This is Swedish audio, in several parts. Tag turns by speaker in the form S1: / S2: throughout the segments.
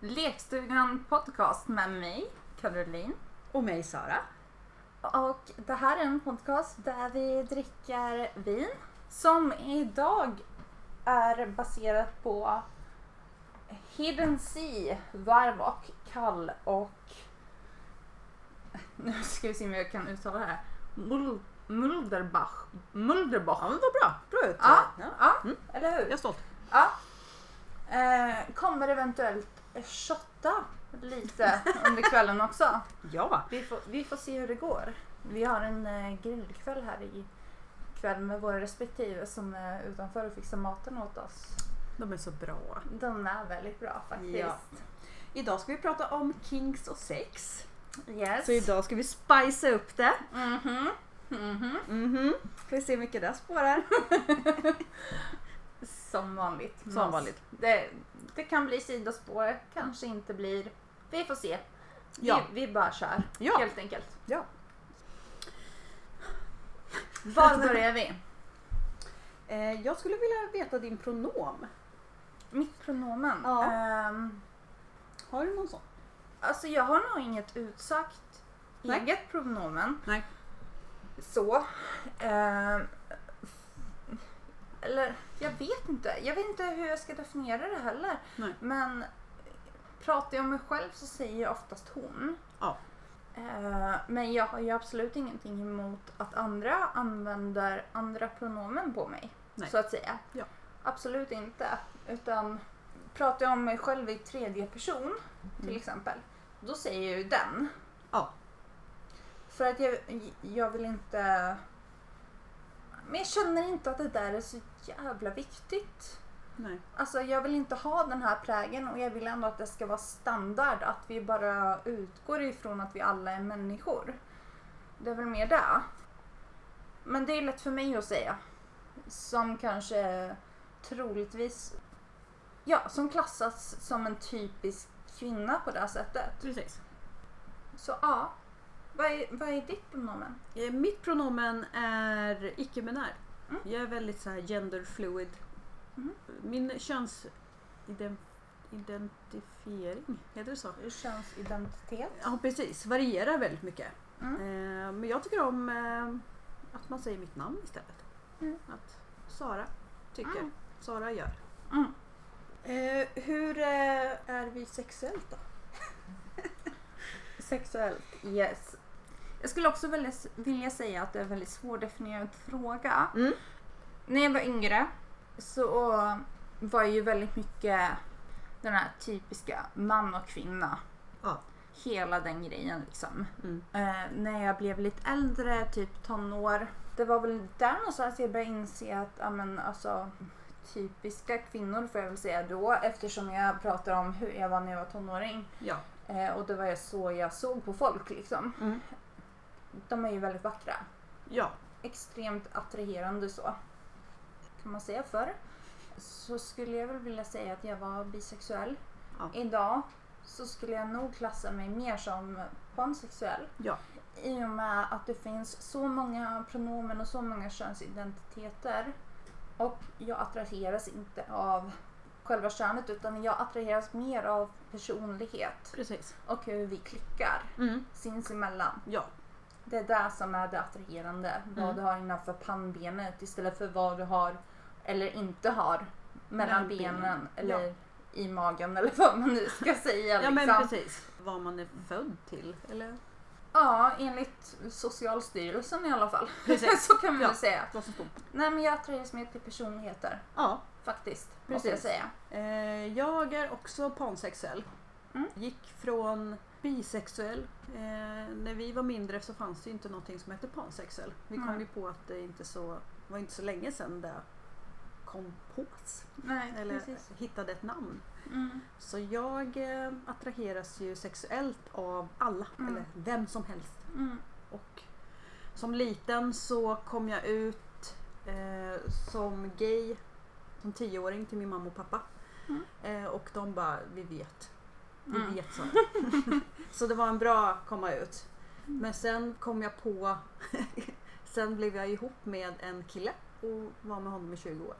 S1: Lekstugan podcast med mig, Caroline.
S2: Och mig Sara.
S1: Och det här är en podcast där vi dricker vin som idag är baserat på Hidden Sea, varm och kall och nu ska vi se om jag kan uttala det här. Mul- Mulderbach. Mulderbach.
S2: Ja men vad bra, bra ut.
S1: Ja,
S2: Ja.
S1: ja
S2: Mm.
S1: eller hur?
S2: Jag är stolt.
S1: Ja. Eh, kommer eventuellt shotta lite under kvällen också.
S2: Ja.
S1: Vi får, vi får se hur det går. Vi har en eh, grillkväll här i kväll med våra respektive som är utanför och fixar maten åt oss.
S2: De är så bra.
S1: Den är väldigt bra faktiskt.
S2: Ja. Idag ska vi prata om kinks och sex.
S1: Yes.
S2: Så idag ska vi spicea upp det.
S1: Mhm. Mhm.
S2: Mhm. Ska vi se hur mycket det spårar.
S1: Som vanligt.
S2: Som vanligt.
S1: Det, det kan bli sidospår, kanske inte blir. Vi får se.
S2: Ja.
S1: Vi, vi bara kör
S2: Ja.
S1: helt enkelt.
S2: Ja.
S1: Var börjar vi?
S2: Eh, jag skulle vilja veta din pronom.
S1: Mitt pronomen?
S2: Ja.
S1: Ehm,
S2: Har du någon sån?
S1: alltså jag har nog inget utsagt
S2: Nej.
S1: eget pronomen.
S2: Nej.
S1: Så. Ehm, eller jag vet inte. Jag vet inte hur jag ska definiera det heller.
S2: Nej.
S1: Men pratar jag om mig själv så säger jag oftast hon.
S2: Ja.
S1: Ehm, men jag har ju absolut ingenting emot att andra använder andra pronomen på mig.
S2: Nej.
S1: Så att säga.
S2: Ja.
S1: Absolut inte. Utan pratar jag om mig själv i tredje person till
S2: Mm.
S1: exempel. Då säger jag ju den.
S2: Ja.
S1: För att jag, jag vill inte... Men jag känner inte att det där är så jävla viktigt.
S2: Nej.
S1: Alltså jag vill inte ha den här prägen och jag vill ändå att det ska vara standard. Att vi bara utgår ifrån att vi alla är människor. Det är väl mer det. Men det är lätt för mig att säga. Som kanske troligtvis... Ja, som klassas som en typisk kvinna på det här sättet.
S2: Precis.
S1: Så ja. Vad är, vad är ditt pronomen?
S2: Eh, mitt pronomen är icke-binär.
S1: Mm.
S2: Jag är väldigt så här genderfluid.
S1: Mhm.
S2: Min könsidentifiering, heter det så?
S1: Könsidentitet?
S2: Ja precis, varierar väldigt mycket.
S1: Mm.
S2: Eh, men jag tycker om eh, att man säger mitt namn istället.
S1: Mm.
S2: Att Sara tycker,
S1: Mm.
S2: Sara gör.
S1: Mm.
S2: Eh, hur eh, är vi sexuellt då?
S1: Sexuellt, yes. Jag skulle också vilja, vilja säga att det är en väldigt svårdefinierad fråga.
S2: Mm.
S1: När jag var yngre så var jag ju väldigt mycket den här typiska man och kvinna.
S2: Ja.
S1: Hela den grejen liksom.
S2: Mm.
S1: Eh, när jag blev lite äldre, typ tonår. Det var väl där någonstans jag började inse att ja, men, alltså, typiska kvinnor får jag väl säga då eftersom jag pratar om hur jag var när jag var tonåring.
S2: Ja.
S1: Eh, och det var ju så jag såg på folk liksom.
S2: Mm.
S1: De är ju väldigt vackra.
S2: ja.
S1: Extremt attraherande så. Kan man säga förr. Så skulle jag väl vilja säga att jag var bisexuell.
S2: Ja.
S1: Idag så skulle jag nog klassa mig mer som pansexuell.
S2: Ja.
S1: I och med att det finns så många pronomen och så många könsidentiteter. Och jag attraheras inte av själva könet utan jag attraheras mer av personlighet
S2: Precis.
S1: och hur vi klickar
S2: Mm.
S1: sinsemellan.
S2: Ja.
S1: Det är det som är det attraherande. Vad
S2: Mm.
S1: du har innanför pannbenet istället för vad du har eller inte har mellan
S2: Mellan benen.
S1: benen eller i magen eller vad man nu ska säga.
S2: ja men
S1: liksom.
S2: precis. Vad man är född till. Eller
S1: ja enligt Socialstyrelsen i alla fall.
S2: Precis.
S1: Så kan man
S2: Ja.
S1: väl säga.
S2: vad som står
S1: Nej men jag attraheras mer till personligheter
S2: Ja.
S1: faktiskt. Måste
S2: Precis.
S1: jag säga.
S2: Eh, jag är också pansexuell.
S1: Mm.
S2: Gick från bisexuell. Eh, när vi var mindre så fanns det ju inte någonting som hette pansexuell. Vi
S1: Nej.
S2: kom ju på att det inte så, var inte så länge sedan det kom pås.
S1: Nej
S2: Eller hittade ett namn.
S1: Mm.
S2: Så jag eh, attraheras ju sexuellt av alla.
S1: Mm.
S2: Eller vem som helst.
S1: Mm.
S2: Och som liten så kom jag ut eh, som gay som tioåring till min mamma och pappa.
S1: Mm.
S2: Eh, och de bara, vi vet. Vi
S1: Mm.
S2: vet så. så det var en bra komma ut.
S1: Mm.
S2: Men sen kom jag på, sen blev jag ihop med en kille och var med honom i 20 år.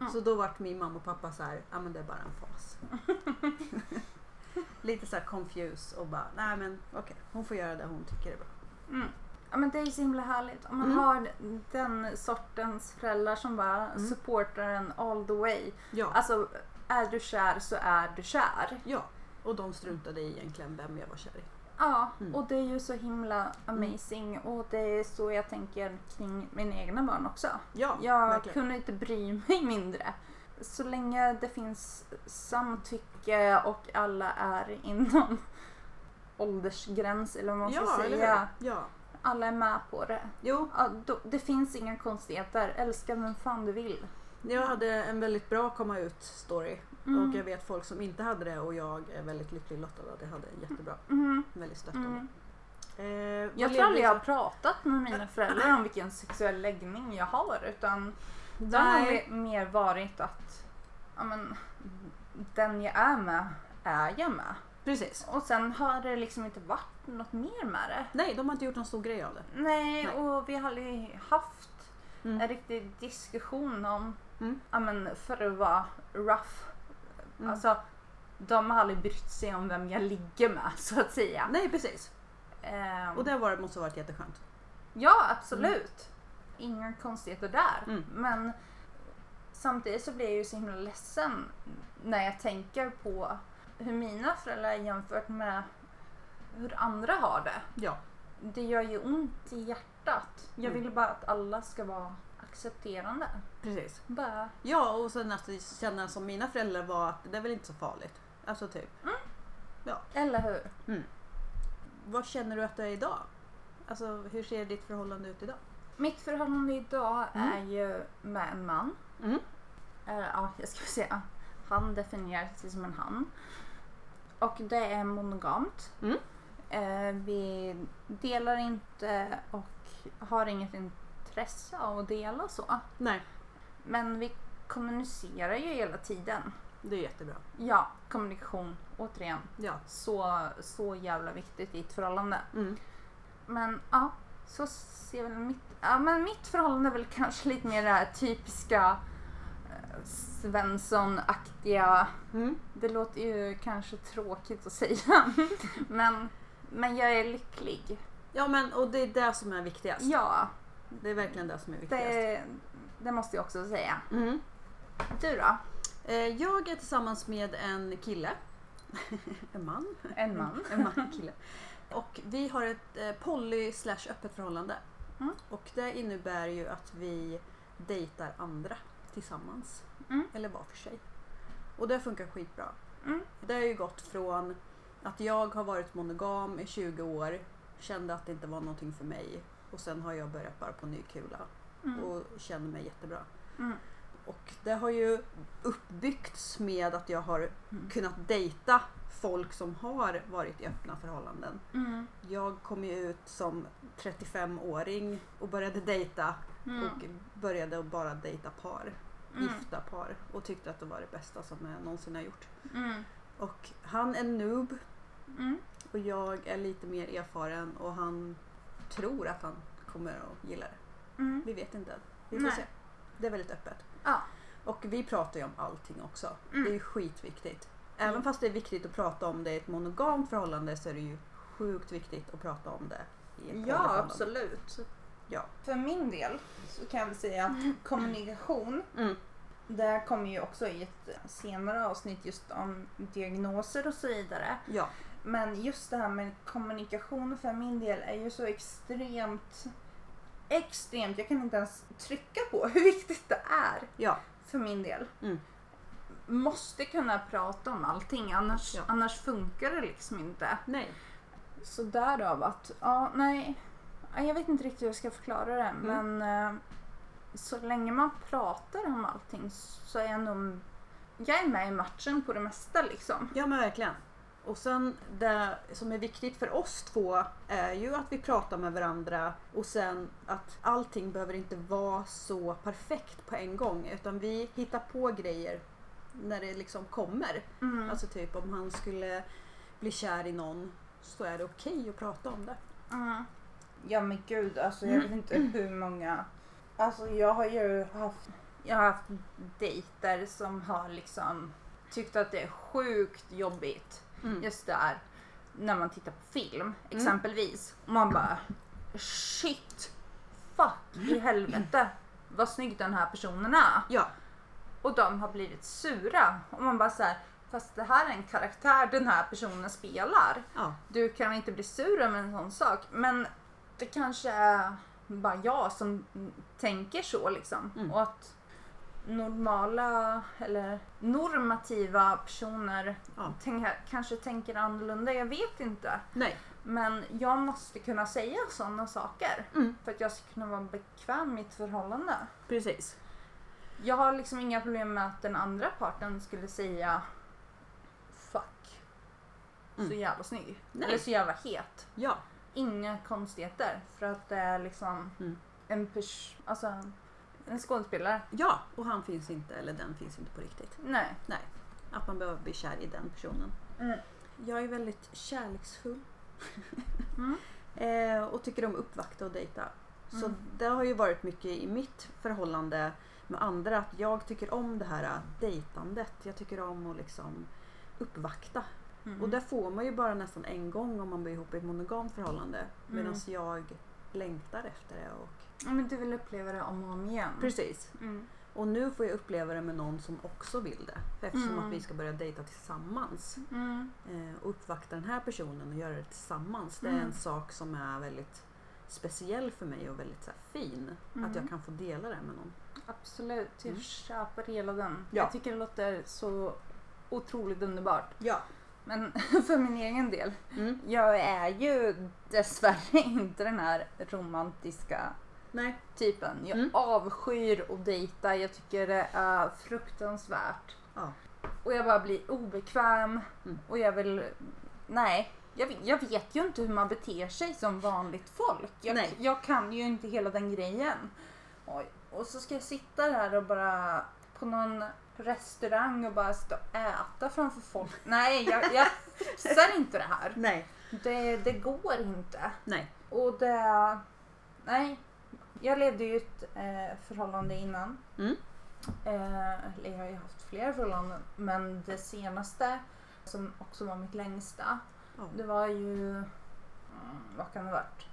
S1: Mm.
S2: Så då vart min mamma och pappa så här, ja men det är bara en fas. lite så här confused och bara, nej men okej, hon får göra det hon tycker är bra.
S1: Mm. Ja, men det är så himla härligt om man
S2: Mm.
S1: har den sortens föräldrar som bara
S2: Mm.
S1: supportar en all the way.
S2: Ja,
S1: Alltså, är du kär så är du kär.
S2: ja. Och de struntade i egentligen vem jag var kär i.
S1: Ja,
S2: Mm.
S1: och det är ju så himla amazing och det är så jag tänker kring mina egna barn också.
S2: Ja,
S1: Jag
S2: verkligen.
S1: kunde inte bry mig mindre. Så länge det finns samtycke och alla är inom åldersgräns eller vad man ska
S2: ja, eller
S1: säga.
S2: hur? Ja.
S1: Alla är med på det.
S2: Jo,
S1: Ja, då, det finns inga konstigheter. Älska vem fan du vill.
S2: jag hade en väldigt bra komma ut story
S1: Mm.
S2: och jag vet folk som inte hade det och jag är väldigt lycklig lottad att jag hade en jättebra,
S1: Mm.
S2: väldigt stöttande.
S1: Mm.
S2: Eh, vad
S1: Jag tror aldrig
S2: levde
S1: jag
S2: vi
S1: har pratat med mina föräldrar om vilken sexuell läggning jag har utan
S2: så-
S1: Det har
S2: Nej.
S1: mer- mer varit att ja, men, den jag är med är jag med.
S2: Precis.
S1: Och sen har det liksom inte varit något mer med det.
S2: Nej, de har inte gjort någon stor grej av det.
S1: Nej,
S2: Nej.
S1: och vi har aldrig haft
S2: Mm.
S1: en riktig diskussion om,
S2: Mm.
S1: ja, men, för att vara rough.
S2: Mm.
S1: Alltså, de har aldrig brytt sig om vem jag ligger med så att säga.
S2: Nej, precis.
S1: Ehm,
S2: Och det var, måste ha varit jätteskönt.
S1: Ja, absolut. Mm. Inga konstigheter där.
S2: Mm.
S1: Men samtidigt så blir jag ju så himla ledsen när jag tänker på hur mina föräldrar är jämfört med hur andra har det.
S2: Ja.
S1: Det gör ju ont i hjärtat. Jag
S2: Mm.
S1: vill bara att alla ska vara accepterande.
S2: Precis.
S1: Bara,
S2: Ja, och sen att känna som mina föräldrar var att det är väl inte så farligt. Alltså typ,
S1: eller hur?
S2: vad känner du att du är idag? Alltså hur ser ditt förhållande ut idag?
S1: Mitt förhållande idag
S2: Mm.
S1: är ju med en man.
S2: Mm.
S1: Eh, ja, jag ska säga. Han definierar sig som en han. Och det är monogamt.
S2: Mm.
S1: Eh, vi delar inte och har inget intresse av att dela så.
S2: Nej,
S1: Men vi kommunicerar ju hela tiden.
S2: det är jättebra.
S1: Ja, kommunikation återigen.
S2: Ja.
S1: Så, så jävla viktigt i ett förhållande.
S2: Mm.
S1: Men ja, så ser väl mitt... Ja, men mitt förhållande är väl kanske lite mer det här typiska eh, Svensson-aktiga.
S2: Mm.
S1: Det låter ju kanske tråkigt att säga. men, men jag är lycklig.
S2: Ja, men och det är det som är viktigast.
S1: Ja,
S2: Det är verkligen det som är viktigast.
S1: det, det måste jag också säga.
S2: Mm.
S1: Du då?
S2: Eh, Jag är tillsammans med en kille. en man.
S1: En man.
S2: En man kille. Och vi har ett eh, poly slash öppet förhållande.
S1: Mm.
S2: Och det innebär ju att vi dejtar andra tillsammans.
S1: Mm.
S2: Eller var för sig. Och det funkar skitbra.
S1: Mm.
S2: Det har ju gått från att jag har varit monogam i 20 år, kände att det inte var någonting för mig. Och sen har jag börjat bara på ny kula
S1: Mm.
S2: och känner mig jättebra.
S1: Mm.
S2: Och det har ju uppbyggts med att jag har
S1: Mm.
S2: kunnat dejta folk som har varit i öppna förhållanden.
S1: Mm.
S2: Jag kom ju ut som 35-åring och började dejta
S1: Mm.
S2: och började att bara dejta par,
S1: Mm.
S2: gifta par och tyckte att det var det bästa som jag någonsin har gjort.
S1: Mm.
S2: Och han är noob
S1: Mm.
S2: och jag är lite mer erfaren och han tror att han kommer att gilla det.
S1: Mm.
S2: Vi vet inte än. Vi får
S1: Nej.
S2: se. Det är väldigt öppet.
S1: Ja.
S2: Och vi pratar ju om allting också.
S1: Mm.
S2: Det är ju skitviktigt. Även
S1: Mm.
S2: fast det är viktigt att prata om det i ett monogamt förhållande så är det ju sjukt viktigt att prata om det i ett
S1: Ja,
S2: polyförhållande.
S1: absolut.
S2: Ja.
S1: För min del så kan jag väl säga att kommunikation
S2: Mm.
S1: Där kommer ju också i ett senare avsnitt just om diagnoser och så vidare.
S2: Ja.
S1: Men just det här med kommunikation för min del är ju så extremt extremt, jag kan inte ens trycka på hur viktigt det är
S2: Ja.
S1: för min del.
S2: Mm.
S1: Måste kunna prata om allting annars,
S2: Ja.
S1: annars funkar det liksom inte.
S2: Nej.
S1: Så därav att, ja nej. Ja, Jag vet inte riktigt hur jag ska förklara det
S2: Mm.
S1: men eh, så länge man pratar om allting så är jag nog... Jag är med i matchen på det mesta liksom.
S2: Ja men verkligen. Och sen det som är viktigt för oss två är ju att vi pratar med varandra och sen att allting behöver inte vara så perfekt på en gång utan vi hittar på grejer när det liksom kommer.
S1: Mm.
S2: Alltså typ om han skulle bli kär i någon så är det okej att prata om det.
S1: Mm. Ja men gud alltså jag vet inte hur många... Alltså jag har ju haft... Jag har haft dejter som har liksom tyckt att det är sjukt jobbigt.
S2: Mm.
S1: Just det här när man tittar på film exempelvis. Och man bara shit, fuck i helvete vad snygg den här personen är.
S2: Ja,
S1: Och de har blivit sura. Och man bara så här, fast det här är en karaktär den här personen spelar.
S2: ja.
S1: Du kan inte bli sur över en sån sak. Men det kanske är bara jag som tänker så liksom.
S2: Mm.
S1: Och att normala eller normativa personer
S2: Ja.
S1: tänker, kanske tänker annorlunda. Jag vet inte.
S2: Nej.
S1: Men jag måste kunna säga sådana saker
S2: Mm.
S1: för att jag ska kunna vara bekväm i mitt förhållande.
S2: Precis.
S1: Jag har liksom inga problem med att den andra parten skulle säga Fuck. Så
S2: Mm.
S1: jävla snygg.
S2: Nej.
S1: Eller så jävla het.
S2: Ja.
S1: Inga konstigheter. För att det är liksom
S2: Mm.
S1: en pers... Alltså en skådespelare.
S2: ja, och han finns inte, eller den finns inte på riktigt.
S1: Nej.
S2: Att man behöver bli kär i den personen.
S1: Mm.
S2: Jag är väldigt kärleksfull.
S1: Mm.
S2: eh, och tycker om uppvakta och dejta. Så
S1: Mm.
S2: det har ju varit mycket i mitt förhållande med andra att jag tycker om det här äh, dejtandet. Jag tycker om att liksom uppvakta.
S1: Mm.
S2: Och det får man ju bara nästan en gång om man blir ihop i ett monogamt förhållande. Medan
S1: Mm.
S2: jag längtar efter det. Och...
S1: Ja, Men du vill uppleva det om och om igen.
S2: Precis.
S1: Mm.
S2: Och nu får jag uppleva det med någon som också vill det. Eftersom
S1: Mm.
S2: att vi ska börja dejta tillsammans.
S1: Mm.
S2: Eh, och uppvakta den här personen och göra det tillsammans. Det är
S1: Mm.
S2: en sak som är väldigt speciell för mig och väldigt så här, fin.
S1: Mm.
S2: Att jag kan få dela det med någon.
S1: Absolut. Jag
S2: Mm.
S1: köper hela den.
S2: Ja.
S1: Jag tycker det låter så otroligt underbart.
S2: Ja.
S1: Men för min egen del.
S2: Mm.
S1: Jag är ju dessvärre inte den här romantiska
S2: Nej.
S1: typen. Jag
S2: Mm.
S1: avskyr att dejta. Jag tycker det är fruktansvärt.
S2: Ja.
S1: Och jag bara blir obekväm.
S2: Mm.
S1: Och jag vill... Nej. Jag, jag vet ju inte hur man beter sig som vanligt folk. Jag,
S2: Nej.
S1: jag kan ju inte hela den grejen. Oj. Och så ska jag sitta där och bara på någon restaurang och bara sitta och äta framför folk. Nej, jag, jag fixar inte det här.
S2: Nej.
S1: Det, det går inte.
S2: Nej.
S1: Och det... Nej. Jag levde ju i ett eh, förhållande innan.
S2: Mm.
S1: Eh, eller jag har ju haft flera förhållanden. Men det senaste, som också var mitt längsta,
S2: Ja.
S1: det var ju... Mm, vad kan det ha varit?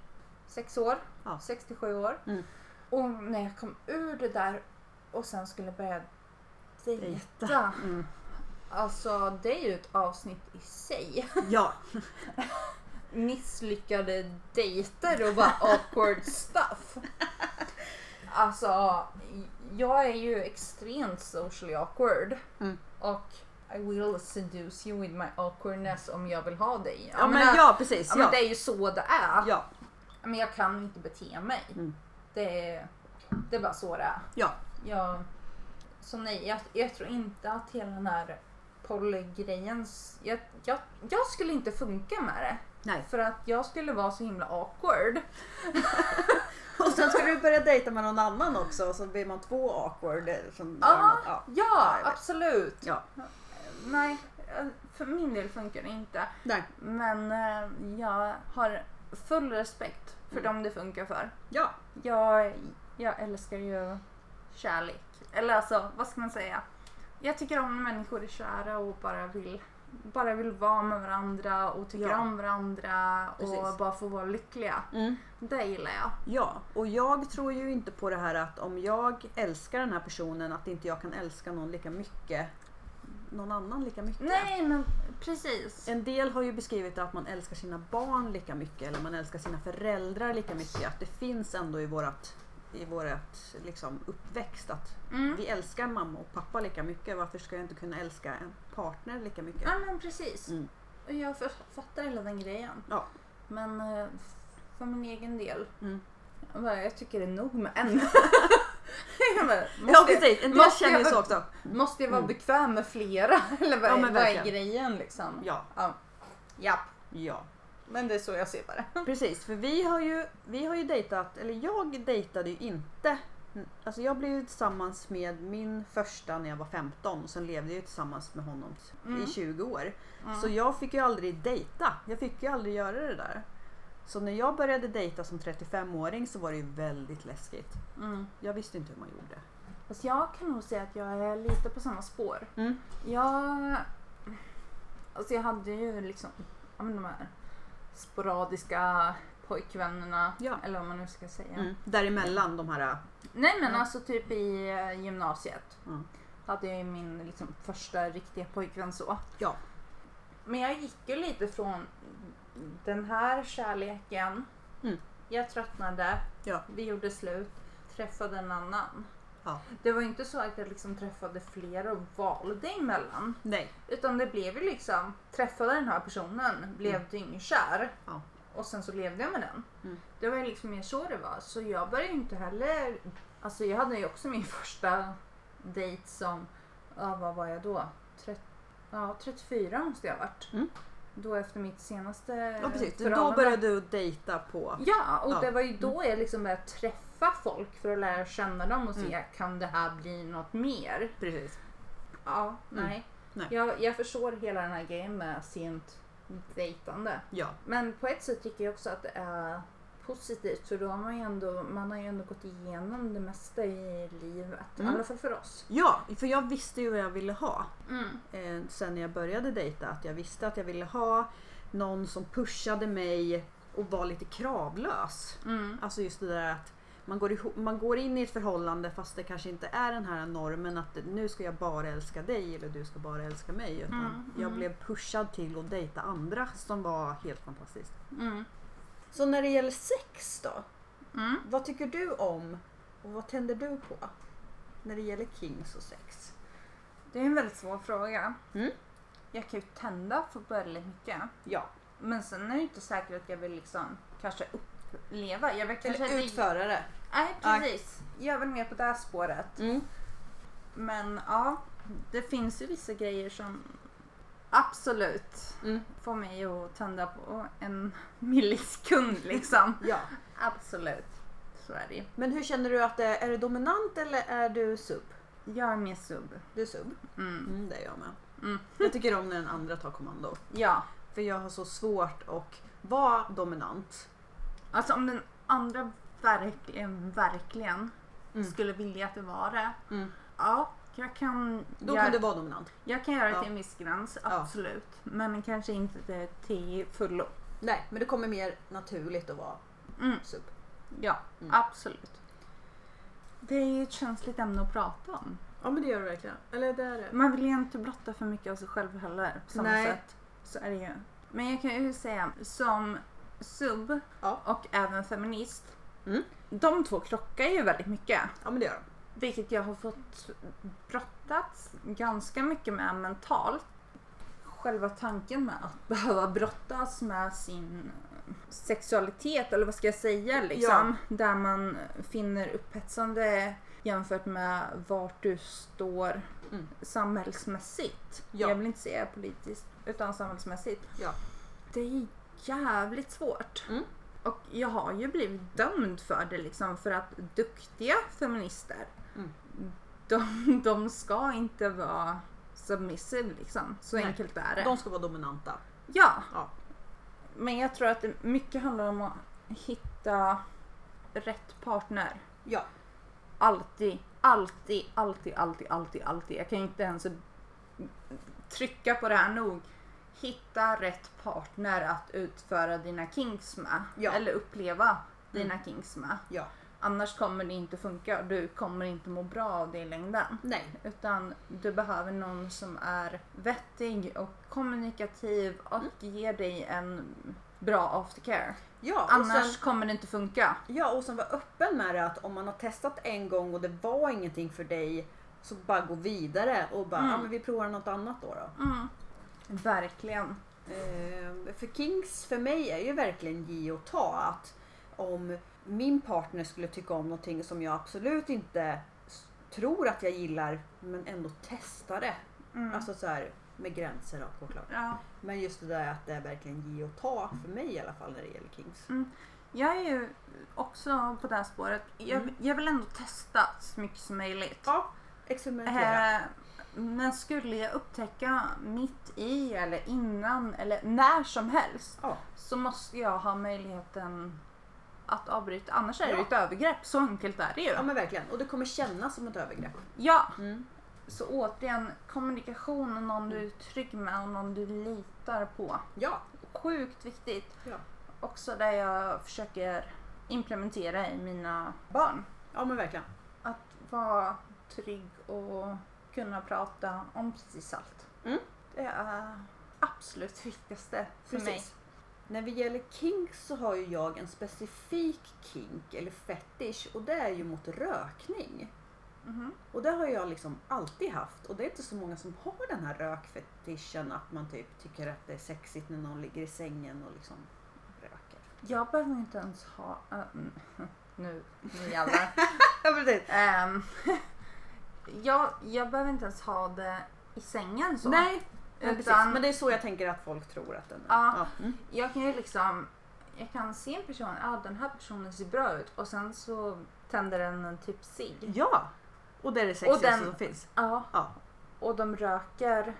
S1: Sex år.
S2: Ja.
S1: 67 år.
S2: Mm.
S1: Och när jag kom ur det där och sen skulle börja dejta.
S2: Dejta. Mm.
S1: Alltså det är ju ett avsnitt i sig
S2: Ja.
S1: misslyckade dejter och bara awkward stuff. Alltså, jag är ju extremt socially awkward.
S2: Mm.
S1: Och I will seduce you with my awkwardness om jag vill ha dig.
S2: Ja, men,
S1: jag,
S2: ja precis.
S1: ja, men
S2: Ja.
S1: det är ju så det är.
S2: Ja.
S1: Men jag kan inte bete mig.
S2: Mm.
S1: Det, är, det är bara så det är.
S2: Ja.
S1: Jag, så nej, jag, jag tror inte att hela den här polygrejen... Jag, jag, jag skulle inte funka med det.
S2: Nej.
S1: För att jag skulle vara så himla awkward.
S2: Och sen ska du börja dejta med någon annan också och så blir man två awkward. eh, Som
S1: Ja.
S2: gör något. ja.
S1: Ja,
S2: jag vet.
S1: absolut.
S2: Ja.
S1: Nej, eh, för min del funkar det inte.
S2: Nej.
S1: Men eh, jag har full respekt för
S2: Mm.
S1: dem det funkar för.
S2: Ja.
S1: Jag, jag älskar ju kärlek. Eller alltså, vad ska man säga? Jag tycker om när människor är kära och bara vill, bara vill vara med varandra och tycker
S2: Ja.
S1: om varandra och
S2: Precis.
S1: bara få vara lyckliga.
S2: Mm.
S1: Det gillar jag.
S2: Ja, och jag tror ju inte på det här att om jag älskar den här personen att inte jag kan älska någon lika mycket. Någon annan lika mycket.
S1: Nej, men precis.
S2: En del har ju beskrivit att man älskar sina barn lika mycket eller man älskar sina föräldrar lika mycket. Att det finns ändå i vårat, i vårat liksom uppväxt att
S1: Mm.
S2: vi älskar mamma och pappa lika mycket. Varför ska jag inte kunna älska en partner lika mycket?
S1: Ja men precis.
S2: Mm.
S1: Och jag för- fattar hela den grejen.
S2: Ja.
S1: Men eh, för min egen del.
S2: Mm.
S1: Jag, bara, jag tycker det är nog med en. Jag bara,
S2: Ja
S1: måste, jag-
S2: precis, en del
S1: måste
S2: känner ju
S1: jag-
S2: så också.
S1: måste jag vara
S2: Mm.
S1: bekväm med flera? Eller vad,
S2: Ja,
S1: är-
S2: men
S1: vad är
S2: verkligen.
S1: grejen liksom?
S2: Ja,
S1: Ja.
S2: ja.
S1: Men det är så jag ser på det.
S2: Precis, för vi har ju, vi har ju dejtat, eller jag dejtade ju inte. Alltså jag blev ju tillsammans med min första när jag var 15 och sen levde jag ju tillsammans med honom
S1: Mm.
S2: i 20 år.
S1: Mm.
S2: Så jag fick ju aldrig dejta. Jag fick ju aldrig göra det där. Så när jag började dejta som 35-åring så var det ju väldigt läskigt.
S1: Mm.
S2: Jag visste inte hur man gjorde.
S1: Mm. Fast jag kan nog säga att jag är lite på samma spår.
S2: Mm.
S1: Jag Alltså jag hade ju liksom ja, men de här sporadiska pojkvännerna
S2: Ja.
S1: eller vad man nu ska säga.
S2: Mm. Däremellan de här...
S1: Nej men
S2: Ja.
S1: alltså typ i eh, gymnasiet
S2: Mm.
S1: hade jag ju min liksom, första riktiga pojkvän så.
S2: Ja.
S1: Men jag gick ju lite från den här kärleken.
S2: Mm.
S1: Jag tröttnade,
S2: Ja.
S1: vi gjorde slut, träffade en annan.
S2: Ja.
S1: Det var ju inte så att jag liksom träffade fler och valde emellan.
S2: Nej.
S1: Utan det blev ju liksom, träffade den här personen, blev
S2: Mm.
S1: dyngkär
S2: Ja.
S1: och sen så levde jag med den.
S2: Mm.
S1: Det var ju liksom mer så det var. Så jag började ju inte heller, alltså jag hade ju också min första dejt som, ja vad var jag då? Tret, ja, 34 måste jag ha varit.
S2: Mm.
S1: Då efter mitt senaste
S2: Ja, precis. Då
S1: förhållande.
S2: började du dejta på...
S1: Ja, och
S2: Ja.
S1: det var ju då jag liksom började träffa folk för att lära känna dem och se,
S2: Mm.
S1: kan det här bli något mer?
S2: Precis.
S1: Ja, Mm. nej.
S2: Nej.
S1: Jag, jag förstår hela den här grejen med sent dejtande.
S2: Ja.
S1: Men på ett sätt tycker jag också att det är positivt för då har man ju ändå, man har ju ändå gått igenom det mesta i livet.
S2: Mm.
S1: I alla fall för oss.
S2: Ja, för jag visste ju vad jag ville ha.
S1: Mm.
S2: eh, sen när jag började dejta att jag visste att jag ville ha någon som pushade mig och var lite kravlös.
S1: Mm.
S2: Alltså just det där att man går, ihop, man går in i ett förhållande fast det kanske inte är den här normen att nu ska jag bara älska dig eller du ska bara älska mig. Utan
S1: Mm,
S2: Jag
S1: mm.
S2: blev pushad till att dejta andra som var helt fantastiskt.
S1: Mm.
S2: Så när det gäller sex då?
S1: Mm.
S2: Vad tycker du om och vad tänder du på? När det gäller kings och sex?
S1: Det är en väldigt svår fråga.
S2: Mm.
S1: Jag kan ju tända för väldigt mycket.
S2: Ja,
S1: Men sen är det ju inte säkert att jag vill liksom kanske uppleva. Jag vill kanske
S2: eller
S1: inte-
S2: utförare.
S1: Nej precis. Jag är väl mer på det här spåret.
S2: Mm.
S1: Men ja, det finns ju vissa grejer som absolut
S2: Mm.
S1: får mig att tända på en millisekund liksom.
S2: Ja.
S1: absolut. Så är det ju.
S2: Men hur känner du att det är? Är du dominant eller är du sub?
S1: Jag är mer sub.
S2: Du är sub.
S1: Mm.
S2: Mm, det är jag med.
S1: Mm.
S2: Jag tycker om när den andra tar kommando.
S1: Ja,
S2: För jag har så svårt att vara dominant.
S1: alltså om den andra verkligen, verkligen
S2: Mm.
S1: skulle vilja att det var det.
S2: Mm.
S1: Ja, jag kan,
S2: Då
S1: jag,
S2: kan du vara dominant.
S1: jag kan göra det
S2: Ja.
S1: till en viss gräns,
S2: Ja.
S1: absolut. Men kanske inte det till fullo.
S2: Nej, men det kommer mer naturligt att vara
S1: Mm.
S2: sub.
S1: Ja,
S2: Mm.
S1: absolut. Det är ju ett känsligt ämne att prata om.
S2: Ja, men det gör du verkligen. Eller det är det.
S1: Man vill ju inte blotta för mycket av sig själv heller. På samma
S2: Nej.
S1: sätt. Så är det ju. Men jag kan ju säga som sub
S2: Ja.
S1: och även feminist.
S2: Mm.
S1: De två krockar ju väldigt mycket.
S2: Ja, men det gör de.
S1: Vilket jag har fått brottats ganska mycket med mentalt. Själva tanken med att behöva brottas med sin sexualitet, eller vad ska jag säga, liksom. Där man finner upphetsande jämfört med vart du står
S2: Mm.
S1: samhällsmässigt.
S2: Ja.
S1: Jag vill inte säga politiskt, utan samhällsmässigt.
S2: Ja.
S1: Det är jävligt svårt.
S2: Mm.
S1: Och jag har ju blivit dömd för det liksom för att duktiga feminister
S2: Mm.
S1: de, de ska inte vara submissive liksom. Så
S2: Nej.
S1: enkelt är det.
S2: De ska vara dominanta.
S1: Ja.
S2: Ja.
S1: Men jag tror att det mycket handlar om att hitta rätt partner.
S2: Ja.
S1: Alltid, alltid, alltid, alltid, alltid, alltid. Jag kan inte ens trycka på det här nog. Hitta rätt partner att utföra dina kinks med.
S2: Ja. Mm.
S1: Eller uppleva dina kinks med.
S2: Ja.
S1: Annars kommer det inte funka. Du kommer inte må bra av det i längden.
S2: Nej.
S1: Utan du behöver någon som är vettig och kommunikativ och
S2: Mm.
S1: ger dig en bra aftercare.
S2: Ja, och
S1: Annars
S2: sen-
S1: kommer det inte funka.
S2: Ja, och som var öppen med det att om man har testat en gång och det var ingenting för dig så bara gå vidare och bara,
S1: Mm.
S2: ja men vi provar något annat då. då.
S1: Verkligen.
S2: Eh, för Kings för mig är ju verkligen ge och ta. Att om min partner skulle tycka om någonting som jag absolut inte s- tror att jag gillar men ändå testa det.
S1: Mm.
S2: Alltså så här med gränser och självklart.
S1: Ja.
S2: Men just det där att det är verkligen ge och ta för mig i alla fall när det gäller Kings.
S1: Mm. Jag är ju också på det här spåret. Jag,
S2: Mm.
S1: jag vill ändå testa så mycket som möjligt.
S2: Ja, experimentera.
S1: Eh, men skulle jag upptäcka mitt i eller innan eller när som helst
S2: Ja,
S1: så måste jag ha möjligheten att avbryta. Annars är det ju
S2: Ja.
S1: ett övergrepp. Så enkelt är det ju.
S2: ja men verkligen. Och det kommer kännas som ett övergrepp.
S1: Ja,
S2: Mm.
S1: Så återigen, kommunikation och någon du är trygg med och någon du litar på.
S2: Ja.
S1: Sjukt viktigt.
S2: Ja.
S1: Också det jag försöker implementera i mina barn.
S2: ja, men verkligen.
S1: Att vara trygg och kunna prata om precis allt.
S2: Mm.
S1: Det är absolut viktigaste för mig.
S2: Precis. När vi gäller kinks så har ju jag en specifik kink eller fetish och det är ju mot rökning.
S1: Mhm.
S2: Och det har jag liksom alltid haft och det är inte så många som har den här rökfetischen att man typ tycker att det är sexigt när någon ligger i sängen och liksom röker.
S1: Jag behöver inte ens ha... ähm, nu, nu jävlar.
S2: Ja precis.
S1: Ehm, jag, jag behöver inte ens ha det i sängen så.
S2: Nej, men, precis.
S1: Utan-
S2: men det är så jag tänker att folk tror att den är.
S1: Ja.
S2: Mm.
S1: Jag kan ju liksom... Jag kan se en person, ja ah, den här personen ser bra ut och sen så tänder den en typ cigg.
S2: ja. Och det är det sexigaste
S1: den-
S2: som finns.
S1: Ja.
S2: Ja.
S1: Och de röker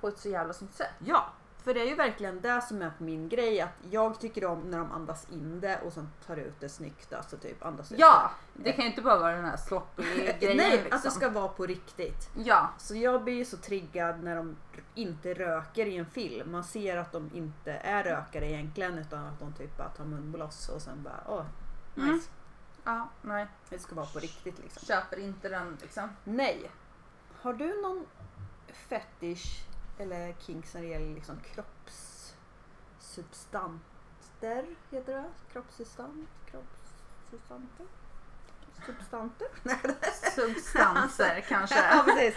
S1: på ett så jävla snyggt sätt.
S2: Ja, för det är ju verkligen det som är min grej. Att jag tycker om när de andas in det och sen tar ut det snyggt. Alltså typ andas ut
S1: Ja! Det kan ju inte bara vara den här sloppiga
S2: det.
S1: grejen
S2: Nej,
S1: liksom.
S2: att det ska vara på riktigt.
S1: Ja.
S2: Så jag blir ju så triggad när de inte röker i en film. Man ser att de inte är rökare egentligen utan att de typ bara tar munblås och sen bara åh, nice.
S1: Mm. Ja, nej.
S2: Det ska vara på riktigt liksom.
S1: Köper inte den liksom.
S2: Nej. Har du någon fetish eller kinks när det gäller liksom kroppssubstanter? Heter det Kroppssubstans? Kroppssubstanter? Substanter?
S1: Substanser kanske.
S2: ja, precis.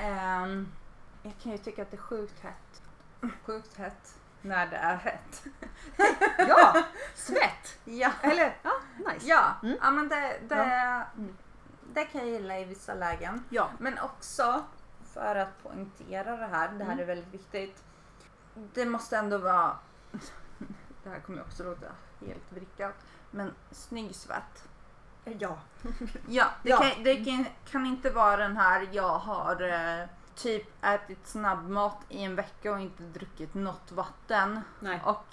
S1: Ehm, jag kan ju tycka att det är sjukt hett. Sjukt hett. När det är hett.
S2: Ja, svett.
S1: Ja.
S2: Eller, ja, nice.
S1: Ja,
S2: Mm.
S1: ja men det, det,
S2: Mm.
S1: det kan jag gilla i vissa lägen.
S2: Ja.
S1: Men också, för att poängtera det här, det här
S2: Mm.
S1: är väldigt viktigt. Det måste ändå vara, det här kommer ju också låta helt vrickat, men snygg svett.
S2: Ja.
S1: Ja, det,
S2: Ja.
S1: Kan, det kan, kan inte vara den här jag har eh, typ ätit snabbmat i en vecka och inte druckit något vatten
S2: Nej.
S1: och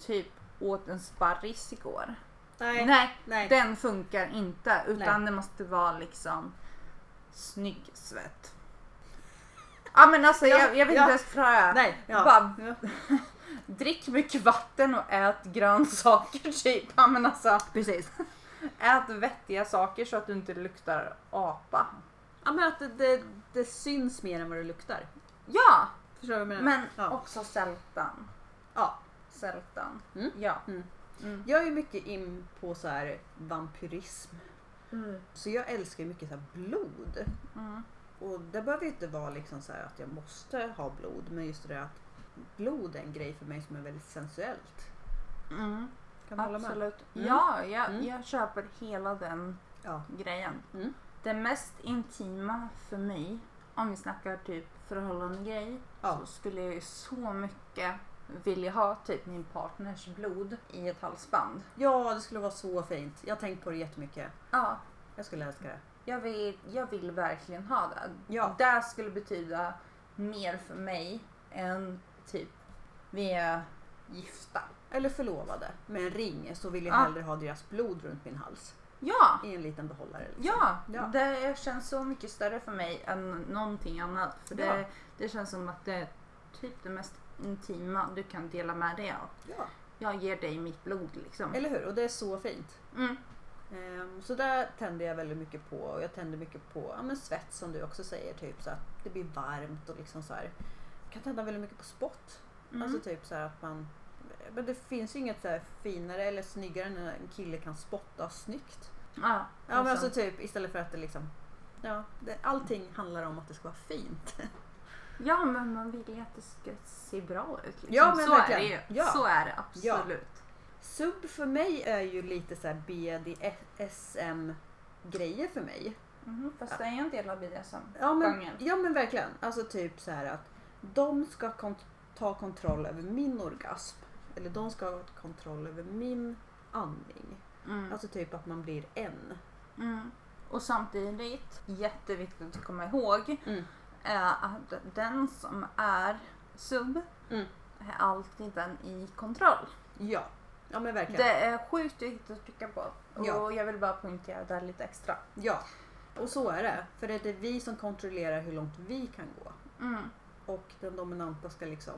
S1: typ åt en sparris igår.
S2: Nej.
S1: Nej,
S2: Nej.
S1: den funkar inte utan det måste vara liksom snygg svett. Ja men alltså
S2: Ja,
S1: jag, jag vill
S2: ja.
S1: inte ens förklara.
S2: Nej. Ja.
S1: Bara,
S2: Ja.
S1: drick mycket vatten och ät grönsaker typ. Ja men alltså. Precis. Ät vettiga saker så att du inte luktar apa.
S2: ja, men att det, det, det syns mer än vad det luktar.
S1: Ja!
S2: Förstår du vad jag menar?
S1: Men
S2: Mm. Ja.
S1: också sältan.
S2: ja.
S1: Sältan.
S2: Mm.
S1: Ja.
S2: Mm.
S1: Mm.
S2: Jag är mycket in på så här vampyrism. Så jag älskar ju mycket så här blod.
S1: Mm.
S2: Och det behöver ju inte vara liksom så här att jag måste ha blod. Men just det där att blod är en grej för mig som är väldigt sensuellt.
S1: Mm.
S2: Kan du hålla med?
S1: Absolut.
S2: Mm.
S1: Ja, jag,
S2: Mm.
S1: jag köper hela den
S2: Ja.
S1: grejen.
S2: Mm.
S1: Det mest intima för mig, om vi snackar typ förhållande grej,
S2: Ja.
S1: så skulle jag ju så mycket vilja ha typ min partners blod i ett halsband.
S2: ja, det skulle vara så fint. Jag har tänkt på det jättemycket.
S1: Ja,
S2: Jag skulle älska det.
S1: jag vill, jag vill verkligen ha det.
S2: Ja.
S1: Det skulle betyda mer för mig än typ vi är gifta.
S2: Eller förlovade med en ring så vill jag
S1: Ja.
S2: hellre ha deras blod runt min hals.
S1: Ja!
S2: I en liten behållare. Liksom.
S1: Ja,
S2: Ja.
S1: det känns så mycket större för mig än någonting annat. För det,
S2: Ja.
S1: det känns som att det är typ det mest intima du kan dela med dig av.
S2: Ja.
S1: Jag ger dig mitt blod liksom.
S2: Eller hur? Och det är så fint.
S1: Mm.
S2: Ehm, Så där tänder jag väldigt mycket på och jag tänder mycket på ja, men svett som du också säger, typ så att det blir varmt och liksom så här. Jag kan tända väldigt mycket på spott.
S1: Mm.
S2: Alltså typ så här att man men det finns ju inget så här finare eller snyggare än när en kille kan spotta snyggt.
S1: ja, liksom.
S2: Ja men alltså typ istället för att det liksom Ja, det, allting handlar om att det ska vara fint.
S1: ja, men man vill ju att det ska se bra ut. Liksom.
S2: typ- Ja, men
S1: så
S2: verkligen.
S1: är det ju.
S2: Ja.
S1: Så är det absolut.
S2: Sub för mig är ju lite så här BDSM grejer för mig.
S1: Mhm, fast det är ju en del av BDSM.
S2: Ja men,
S1: Genren.
S2: ja men verkligen. Alltså typ så här att de ska kont- ta kontroll över min orgasm. Eller de ska ha kontroll över min andning.
S1: Mm.
S2: Alltså typ att man blir en.
S1: Mm. Och samtidigt, jätteviktigt att komma ihåg,
S2: Mm.
S1: är att den som är sub
S2: Mm.
S1: är alltid den i kontroll.
S2: Ja. Ja men verkligen.
S1: Det är sjukt viktigt att trycka på och
S2: Ja.
S1: jag vill bara poängtera det här lite extra.
S2: Ja. Och så är det. För det är vi som kontrollerar hur långt vi kan gå.
S1: Mm.
S2: Och den dominanta ska liksom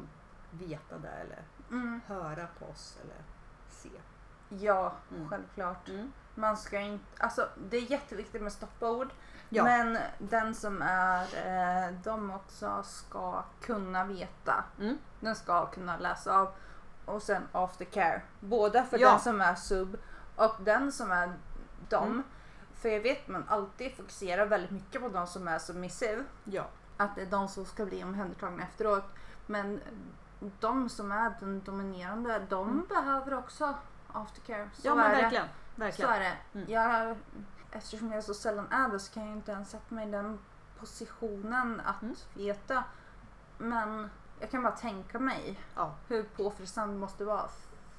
S2: veta det eller
S1: Mm.
S2: höra på oss eller se.
S1: Ja,
S2: Mm.
S1: självklart.
S2: Mm.
S1: Man ska inte, alltså det är jätteviktigt med stoppord.
S2: Ja.
S1: Men den som är eh, de också ska kunna veta.
S2: Mm.
S1: Den ska kunna läsa av. Och sen aftercare. Både för
S2: Ja.
S1: den som är sub och den som är dom.
S2: Mm.
S1: För jag vet man alltid fokuserar väldigt mycket på de som är submissiv.
S2: ja.
S1: Att det är de som ska bli omhändertagna efteråt. Men de som är den dominerande, de
S2: Mm.
S1: behöver också aftercare. Så
S2: ja men
S1: är det.
S2: verkligen.
S1: Så
S2: verkligen.
S1: är det.
S2: Mm.
S1: Jag, eftersom jag så sällan är det så kan jag ju inte ens sätta mig i den positionen att
S2: Mm.
S1: veta. Men jag kan bara tänka mig
S2: Ja.
S1: hur påfrestande det måste vara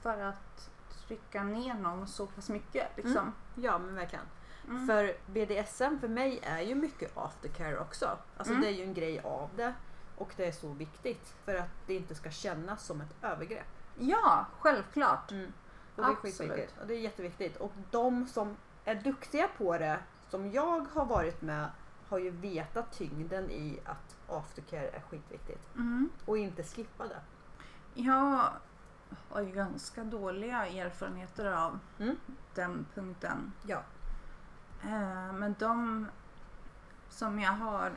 S1: för att trycka ner någon så pass mycket. Liksom.
S2: ja men verkligen.
S1: Mm.
S2: Mm. För BDSM för mig är ju mycket aftercare också. Alltså
S1: Mm.
S2: det är ju en grej av det. Och det är så viktigt för att det inte ska kännas som ett övergrepp.
S1: Ja, självklart.
S2: Mm. Och det är
S1: Absolut.
S2: skitviktigt. Och det är jätteviktigt. Och de som är duktiga på det, som jag har varit med, har ju vetat tyngden i att aftercare är skitviktigt.
S1: Mm.
S2: Och inte slippa det.
S1: Jag har ju ganska dåliga erfarenheter av
S2: Mm.
S1: den punkten.
S2: Ja.
S1: Eh, Men de som jag har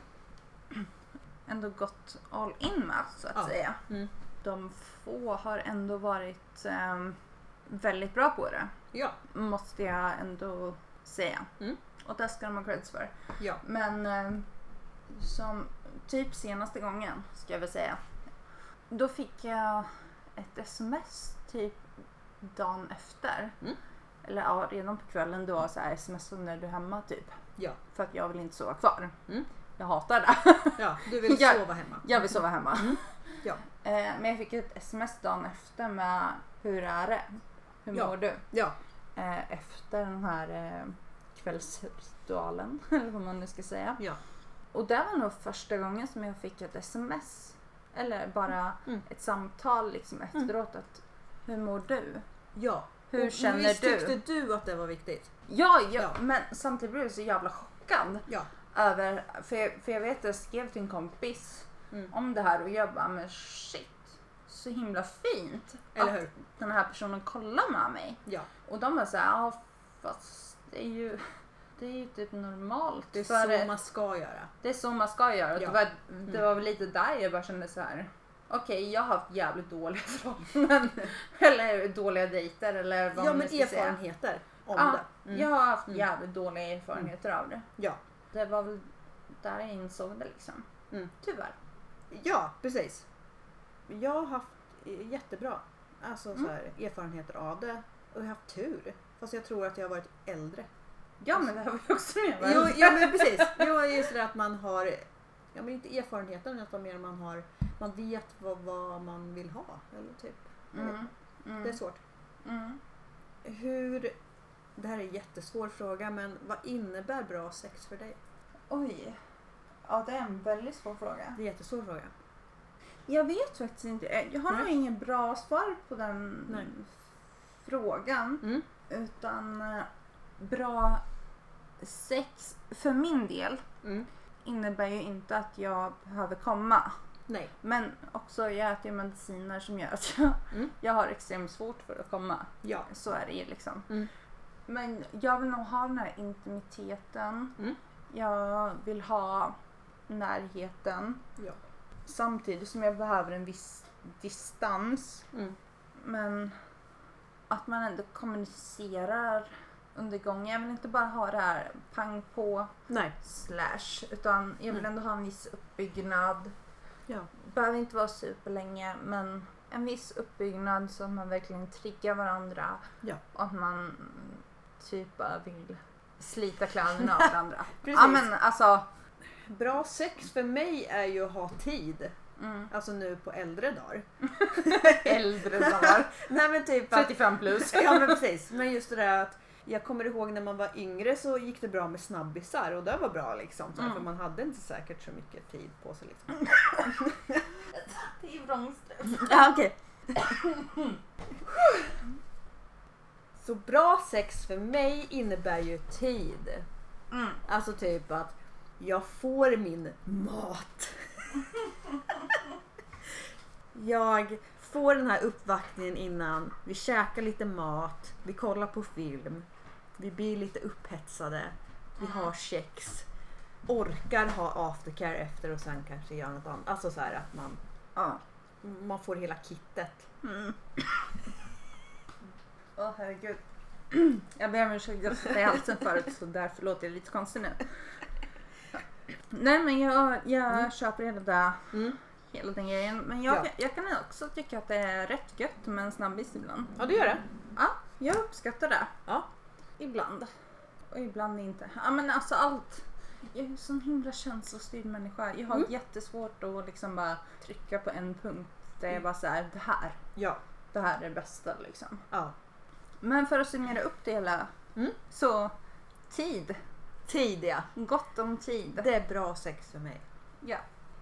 S1: ändå gått all in med så att
S2: Ja.
S1: säga.
S2: Mm.
S1: De få har ändå varit eh, väldigt bra på det.
S2: Ja.
S1: Måste jag ändå säga.
S2: Mm.
S1: Och det ska de ha creds för.
S2: Ja.
S1: Men eh, som typ senaste gången ska jag väl säga. Då fick jag ett sms typ dagen efter.
S2: Mm.
S1: Eller ja, redan på kvällen då så här sms när du är hemma typ.
S2: Ja.
S1: För att jag vill inte sova kvar.
S2: Mm.
S1: Jag hatar det.
S2: ja. Du vill
S1: Ja.
S2: sova hemma.
S1: Jag vill sova hemma.
S2: Mm. Ja.
S1: Eh, men jag fick ett sms dagen efter med Hur är det? Hur
S2: Ja.
S1: mår du?
S2: Ja.
S1: Eh, efter den här eh, kvällsritualen, eller vad man nu ska säga.
S2: Ja.
S1: Och det var nog första gången som jag fick ett sms. Eller bara
S2: Mm.
S1: ett samtal liksom efteråt. Att, hur mår du?
S2: Ja.
S1: Hur
S2: Och
S1: känner
S2: Mm, visst
S1: du?
S2: tyckte du att det var viktigt?
S1: Ja, ja,
S2: Ja.
S1: men samtidigt blev jag så jävla chockad.
S2: Ja.
S1: Över, för, jag, för jag vet att jag skrev till en kompis
S2: Mm.
S1: om det här och jag bara, men shit. Så himla fint
S2: Eller
S1: att
S2: hur?
S1: den här personen kollar med mig.
S2: Ja.
S1: Och de är såhär, ja fast det är ju, det är ju typ normalt.
S2: Det är
S1: för
S2: så man ska göra.
S1: det är så man ska göra. Och
S2: Ja.
S1: Det, var, det var väl lite där jag bara kände så här. okej jag har haft jävligt dåliga förhållanden. eller dåliga dejter eller vad
S2: Ja
S1: man
S2: men
S1: nu ska säga.
S2: erfarenheter om
S1: Ja,
S2: det. Mm.
S1: Jag har haft jävligt dåliga erfarenheter av det.
S2: Ja.
S1: Det var väl där jag insåg det liksom.
S2: Mm.
S1: Tyvärr.
S2: Ja, precis. Jag har haft eh, jättebra alltså, så här, erfarenheter av det och jag har haft tur. Fast jag tror att jag har varit äldre.
S1: Ja men det har vi också med va?
S2: Jo, ja, men precis. Jo, det är ju sådär att man har, ja men inte erfarenheten utan mer man har, man vet vad, vad man vill ha. Eller typ. Jag vet
S1: Mm,
S2: inte. Det är
S1: mm,
S2: svårt.
S1: mm.
S2: Hur, det här är en jättesvår fråga men vad innebär bra sex för dig?
S1: Oj. Ja det är en väldigt svår fråga.
S2: Det är en jättesvår fråga.
S1: Jag vet faktiskt inte. Jag har
S2: Nej.
S1: nog ingen bra svar på den
S2: Nej.
S1: frågan.
S2: Mm.
S1: Utan eh, bra sex för min del
S2: Mm.
S1: innebär ju inte att jag behöver komma.
S2: Nej.
S1: Men också jag äter ju mediciner som gör att jag,
S2: Mm.
S1: jag har extremt svårt för att komma.
S2: Ja.
S1: Så är det ju liksom.
S2: Mm.
S1: Men jag vill nog ha den här intimiteten.
S2: Mm.
S1: Jag vill ha närheten.
S2: Ja.
S1: Samtidigt som jag behöver en viss distans.
S2: Mm.
S1: Men att man ändå kommunicerar under gången. Jag vill inte bara ha det här pang på
S2: Nej.
S1: slash. Utan jag vill
S2: Mm.
S1: ändå ha en viss uppbyggnad.
S2: Ja.
S1: Behöver inte vara superlänge men en viss uppbyggnad så att man verkligen triggar varandra.
S2: Ja.
S1: Och att man mm, typ bara vill slita kläderna av varandra.
S2: Precis.
S1: Ja men alltså.
S2: Bra sex för mig är ju att ha tid.
S1: Mm,
S2: Alltså nu på äldre dagar.
S1: äldre dagar.
S2: Nej men typ att...
S1: 35 plus.
S2: Ja men precis. Men just det där att jag kommer ihåg när man var yngre så gick det bra med snabbisar och det var bra liksom. Så här,
S1: Mm.
S2: För man hade inte säkert så mycket tid på sig. Liksom.
S1: Det är vrångström.
S2: Ja, okej. Så bra sex för mig innebär ju tid.
S1: Mm.
S2: Alltså typ att jag får min mat. jag får den här uppvaktningen innan. Vi käkar lite mat. Vi kollar på film. Vi blir lite upphetsade. Vi har sex. Orkar ha aftercare efter och sen kanske göra något annat. Alltså så här att man,
S1: Ja.
S2: man får hela kittet.
S1: Mm. Åh herregud. Jag ber om ursäkt, jag satt i halsen förut så därför låter jag lite konstig nu. Nej men jag, jag
S2: Mm.
S1: köper hela, det,
S2: Mm.
S1: hela den grejen. Men jag,
S2: Ja.
S1: jag kan också tycka att det är rätt gött med en snabbis ibland.
S2: Ja, det gör det.
S1: Ja, jag uppskattar det.
S2: Ja.
S1: Ibland. Och ibland inte. Ja men alltså allt. Jag är en sån himla känslostyrd människa. Jag har
S2: Mm.
S1: jättesvårt att liksom bara trycka på en punkt där
S2: Mm.
S1: jag bara såhär, det här,
S2: Ja.
S1: det här är det bästa liksom.
S2: ja.
S1: Men för att summera upp det hela.
S2: Mm.
S1: Så tid.
S2: Tidiga.
S1: Gott om tid.
S2: Det är bra sex för mig.
S1: Ja,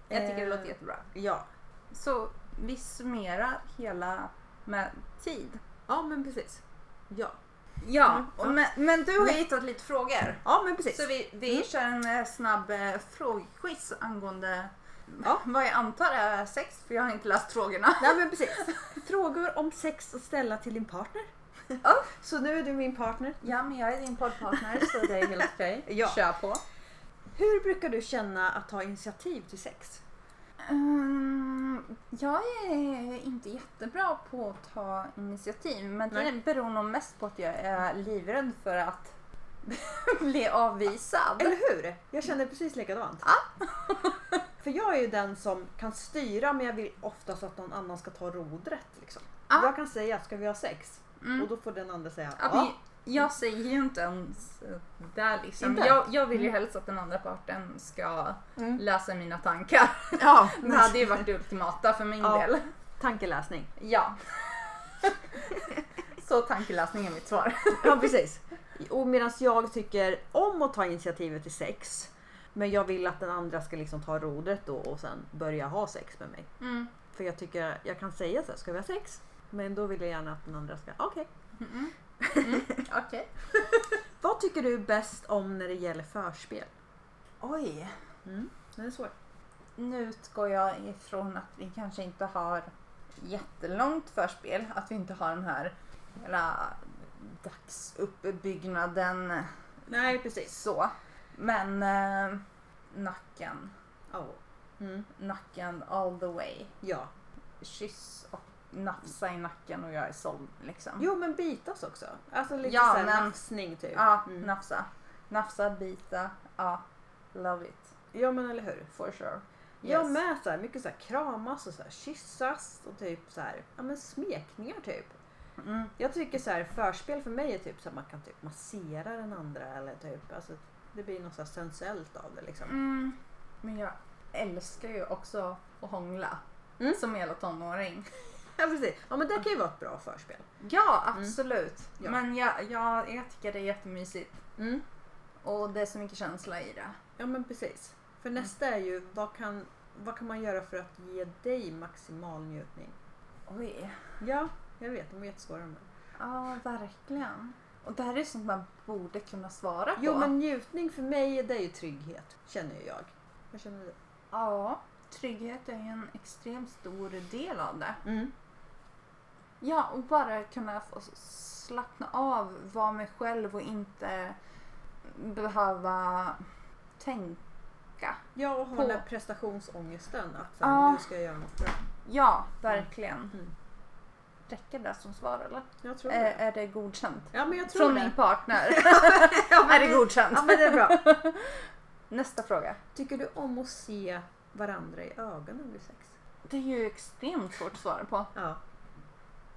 S1: jag tycker det
S2: Eh.
S1: låter jättebra.
S2: Ja.
S1: Så vi summerar hela med tid.
S2: Ja, men precis. Ja.
S1: Ja,
S2: Mm.
S1: och men, men du har ju hittat lite frågor.
S2: Ja, men precis.
S1: Så vi, vi
S2: Mm.
S1: kör en eh, snabb eh, frågequiz angående
S2: Ja.
S1: vad jag antar är sex, för jag har inte läst frågorna.
S2: Nej men precis. Frågor om sex att ställa till din partner.
S1: Ja.
S2: Så nu är du min partner.
S1: Ja, men jag är din poddpartner så det är helt okej.
S2: Ja.
S1: Kör på.
S2: Hur brukar du känna att ta initiativ till sex?
S1: Ehm, jag är inte jättebra på att ta initiativ men det
S2: Nej.
S1: beror nog mest på att jag är livrädd för att bli avvisad.
S2: Eller hur? Jag känner precis likadant. För jag är ju den som kan styra men jag vill oftast att någon annan ska ta rodret. Liksom.
S1: Ja.
S2: Jag kan säga ska vi ha sex?
S1: Mm.
S2: Och då får den andra säga
S1: Ja,
S2: ja.
S1: men Jag säger ju inte ens där liksom.
S2: Inte?
S1: Jag, jag vill ju
S2: Mm.
S1: helst att den andra parten ska
S2: Mm.
S1: läsa mina tankar.
S2: ja
S1: Det hade ju varit det ultimata för min
S2: Ja.
S1: del.
S2: Tankeläsning.
S1: Ja. Så tankeläsning är mitt svar.
S2: Ja precis. Och medan jag tycker om att ta initiativet till sex men jag vill att den andra ska liksom ta rodret då och sen börja ha sex med mig.
S1: Mm.
S2: För jag tycker jag kan säga så här, ska vi ha sex? Men då vill jag gärna att den andra ska, okej.
S1: Mm. Mm. Okej.
S2: Vad tycker du är bäst om när det gäller förspel?
S1: Oj.
S2: Den är svår.
S1: Nu utgår jag ifrån att vi kanske inte har jättelångt förspel. Att vi inte har den här hela dagsuppbyggnaden
S2: Nej precis.
S1: så. Men eh, nacken.
S2: Ja. Mm.
S1: Nacken all the way.
S2: ja.
S1: Kyss och nafsa i nacken och jag är såld liksom.
S2: Jo men bitas också. Alltså lite
S1: Ja,
S2: såhär
S1: men-
S2: nafsning typ.
S1: Ja,
S2: Mm.
S1: nafsa. Nafsa, bita. Ja, love it.
S2: ja men eller hur.
S1: For sure.
S2: Jag med så här, mycket så här, kramas och så här, kyssas och typ så här, ja men smekningar typ.
S1: Mm.
S2: Jag tycker så här, förspel för mig är typ så att man kan typ massera den andra eller typ, alltså det blir något så här sensuellt av det liksom.
S1: Mm. Men jag älskar ju också att hångla.
S2: Mm.
S1: Som hela tonåring.
S2: Ja precis, ja men det kan ju vara ett bra förspel.
S1: Mm. Ja, absolut.
S2: Ja.
S1: Men jag, jag, jag tycker det är jättemysigt.
S2: Mm.
S1: Och det är så mycket känsla i det.
S2: Ja men precis. För
S1: Mm.
S2: nästa är ju, vad kan, vad kan man göra för att ge dig maximal njutning?
S1: Oj.
S2: Ja, jag vet, de är jättesvåra de här.
S1: Ja, verkligen. Och det här är sånt man borde kunna svara på.
S2: Jo men njutning för mig, det är ju trygghet, känner ju jag. Vad känner du?
S1: Ja, trygghet är ju en extremt stor del av det.
S2: Mm.
S1: Ja, och bara kunna få slappna av, vara mig själv och inte behöva tänka.
S2: Ja, och ha
S1: På-
S2: den här prestationsångesten att så här,
S1: Ja.
S2: nu ska jag göra något bra.
S1: Ja, verkligen.
S2: Mm.
S1: Räcker det som svar eller?
S2: Jag tror
S1: Är,
S2: det.
S1: är det godkänt?
S2: Ja men jag tror
S1: Eh, Från
S2: det.
S1: min partner.
S2: Ja,
S1: är
S2: men
S1: det
S2: det-
S1: godkänt?
S2: Ja men det är bra.
S1: Nästa fråga.
S2: Tycker du om att se varandra i ögonen vid sex?
S1: Det är ju extremt svårt att svara på.
S2: Ja.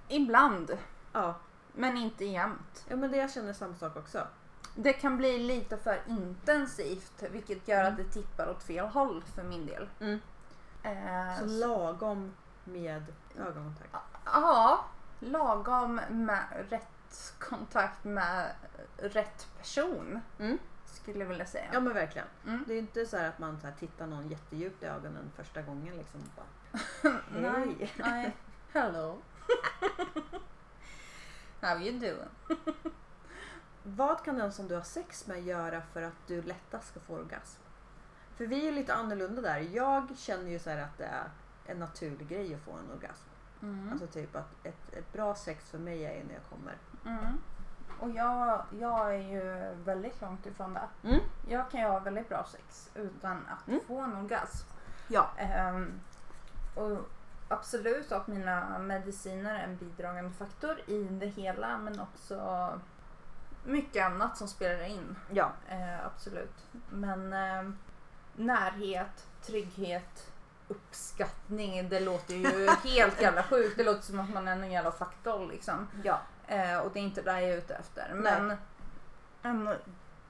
S1: Ibland,
S2: Ja,
S1: men inte jämt.
S2: ja men det jag känner samma sak också.
S1: Det kan bli lite för intensivt vilket gör att det tippar åt fel håll för min del.
S2: Mm.
S1: Eh,
S2: Så lagom med ögonkontakt.
S1: ja, lagom med rätt kontakt med rätt person
S2: Mm.
S1: skulle jag vilja säga.
S2: Ja men verkligen.
S1: Mm.
S2: Det är inte så här att man så här tittar någon jättedjupt i ögonen första gången liksom. och Bara,
S1: Nej.
S2: hej!
S1: Nej. Hello. How you doing?
S2: Vad kan den som du har sex med göra för att du lättast ska få orgasm? För vi är ju lite annorlunda där. Jag känner ju så här att det är en naturlig grej att få en orgasm.
S1: Mm.
S2: Alltså typ att ett, ett bra sex för mig är när jag kommer.
S1: Mm. Och jag, jag är ju väldigt långt ifrån det.
S2: Mm.
S1: Jag kan ju ha väldigt bra sex utan att
S2: Mm.
S1: få en orgasm.
S2: Ja.
S1: Ehm, och absolut att mina mediciner är en bidragande faktor i det hela men också mycket annat som spelar in.
S2: Ja.
S1: Eh, absolut. Men eh, närhet, trygghet, uppskattning. Det låter ju helt jävla sjukt. Det låter som att man är en jävla faktor liksom.
S2: Ja.
S1: Eh, och det är inte det jag är ute efter.
S2: Nej.
S1: Men en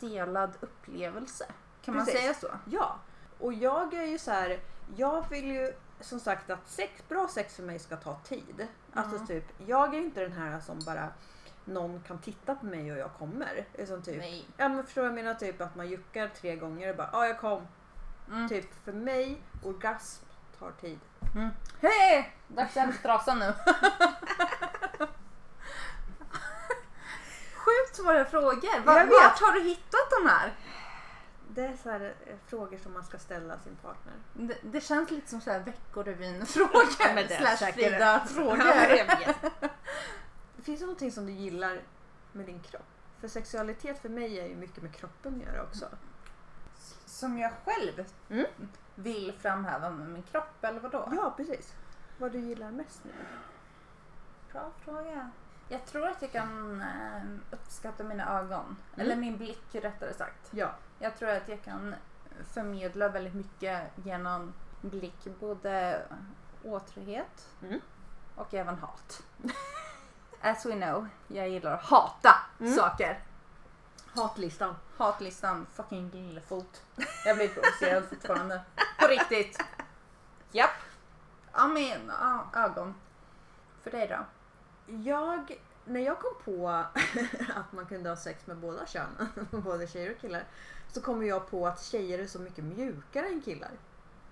S1: delad upplevelse. Kan man
S2: Precis.
S1: säga så?
S2: Ja. Och jag är ju så här. Jag vill ju som sagt att sex, bra sex för mig ska ta tid. Alltså
S1: Mm.
S2: typ, jag är inte den här som bara någon kan titta på mig och jag kommer. Utan typ,
S1: Nej.
S2: Ja men förstår du vad jag menar? Typ att man juckar tre gånger och bara ja jag kom.
S1: Mm.
S2: Typ för mig, orgasm tar tid.
S1: Hej! Dags att hämta trasan nu. Sjukt svåra frågor. Var,
S2: Jag vet.
S1: vart har du hittat de här?
S2: Det är så här, eh, frågor som man ska ställa sin partner.
S1: Det, det känns lite som så här Veckorevyn-frågor.
S2: Ja, men det är
S1: slash
S2: säkert-
S1: Frida-frågor.
S2: Finns det någonting som du gillar med din kropp? För sexualitet för mig är ju mycket med kroppen att göra också.
S1: Som jag själv
S2: Mm.
S1: vill framhäva med min kropp eller vadå?
S2: Ja precis. Vad du gillar mest med din kropp.
S1: Bra fråga. Jag tror att jag kan eh, uppskatta mina ögon. Eller min blick rättare sagt.
S2: Mm. Ja.
S1: Jag tror att jag kan förmedla väldigt mycket genom blick. Både åtrhet
S2: Mm.
S1: och även hat. As we know, jag gillar att hata
S2: Mm.
S1: saker.
S2: Hatlistan.
S1: Hatlistan, fucking lillefot. Jag blir provocerad fortfarande. På riktigt. Japp. Ja men, ja, ögon. För dig då?
S2: Jag, när jag kom på att man kunde ha sex med båda könen, både tjejer och killar, så kom jag på att tjejer är så mycket mjukare än killar.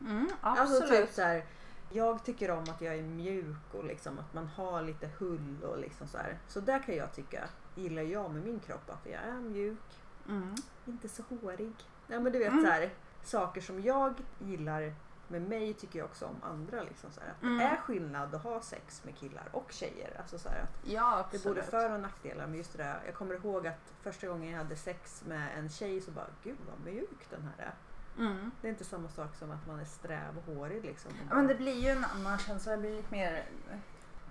S1: Mm,
S2: Alltså typ så här, jag tycker om att jag är mjuk och liksom att man har lite hull och liksom så här. Så där kan jag tycka, gillar jag med min kropp, att jag är mjuk,
S1: Mm.
S2: inte så hårig. Ja men du vet
S1: Mm.
S2: så här, saker som jag gillar med mig tycker jag också om andra. Liksom så här. Att
S1: Mm.
S2: Det är skillnad att ha sex med killar och tjejer. Alltså så här, att
S1: Ja,
S2: det är
S1: absolut.
S2: både för och nackdelar men just det där, jag kommer ihåg att första gången jag hade sex med en tjej så bara gud vad mjuk den här är.
S1: Mm.
S2: Det är inte samma sak som att man är sträv och hårig liksom.
S1: Ja, Men det blir ju en annan känsla. Det blir lite mer...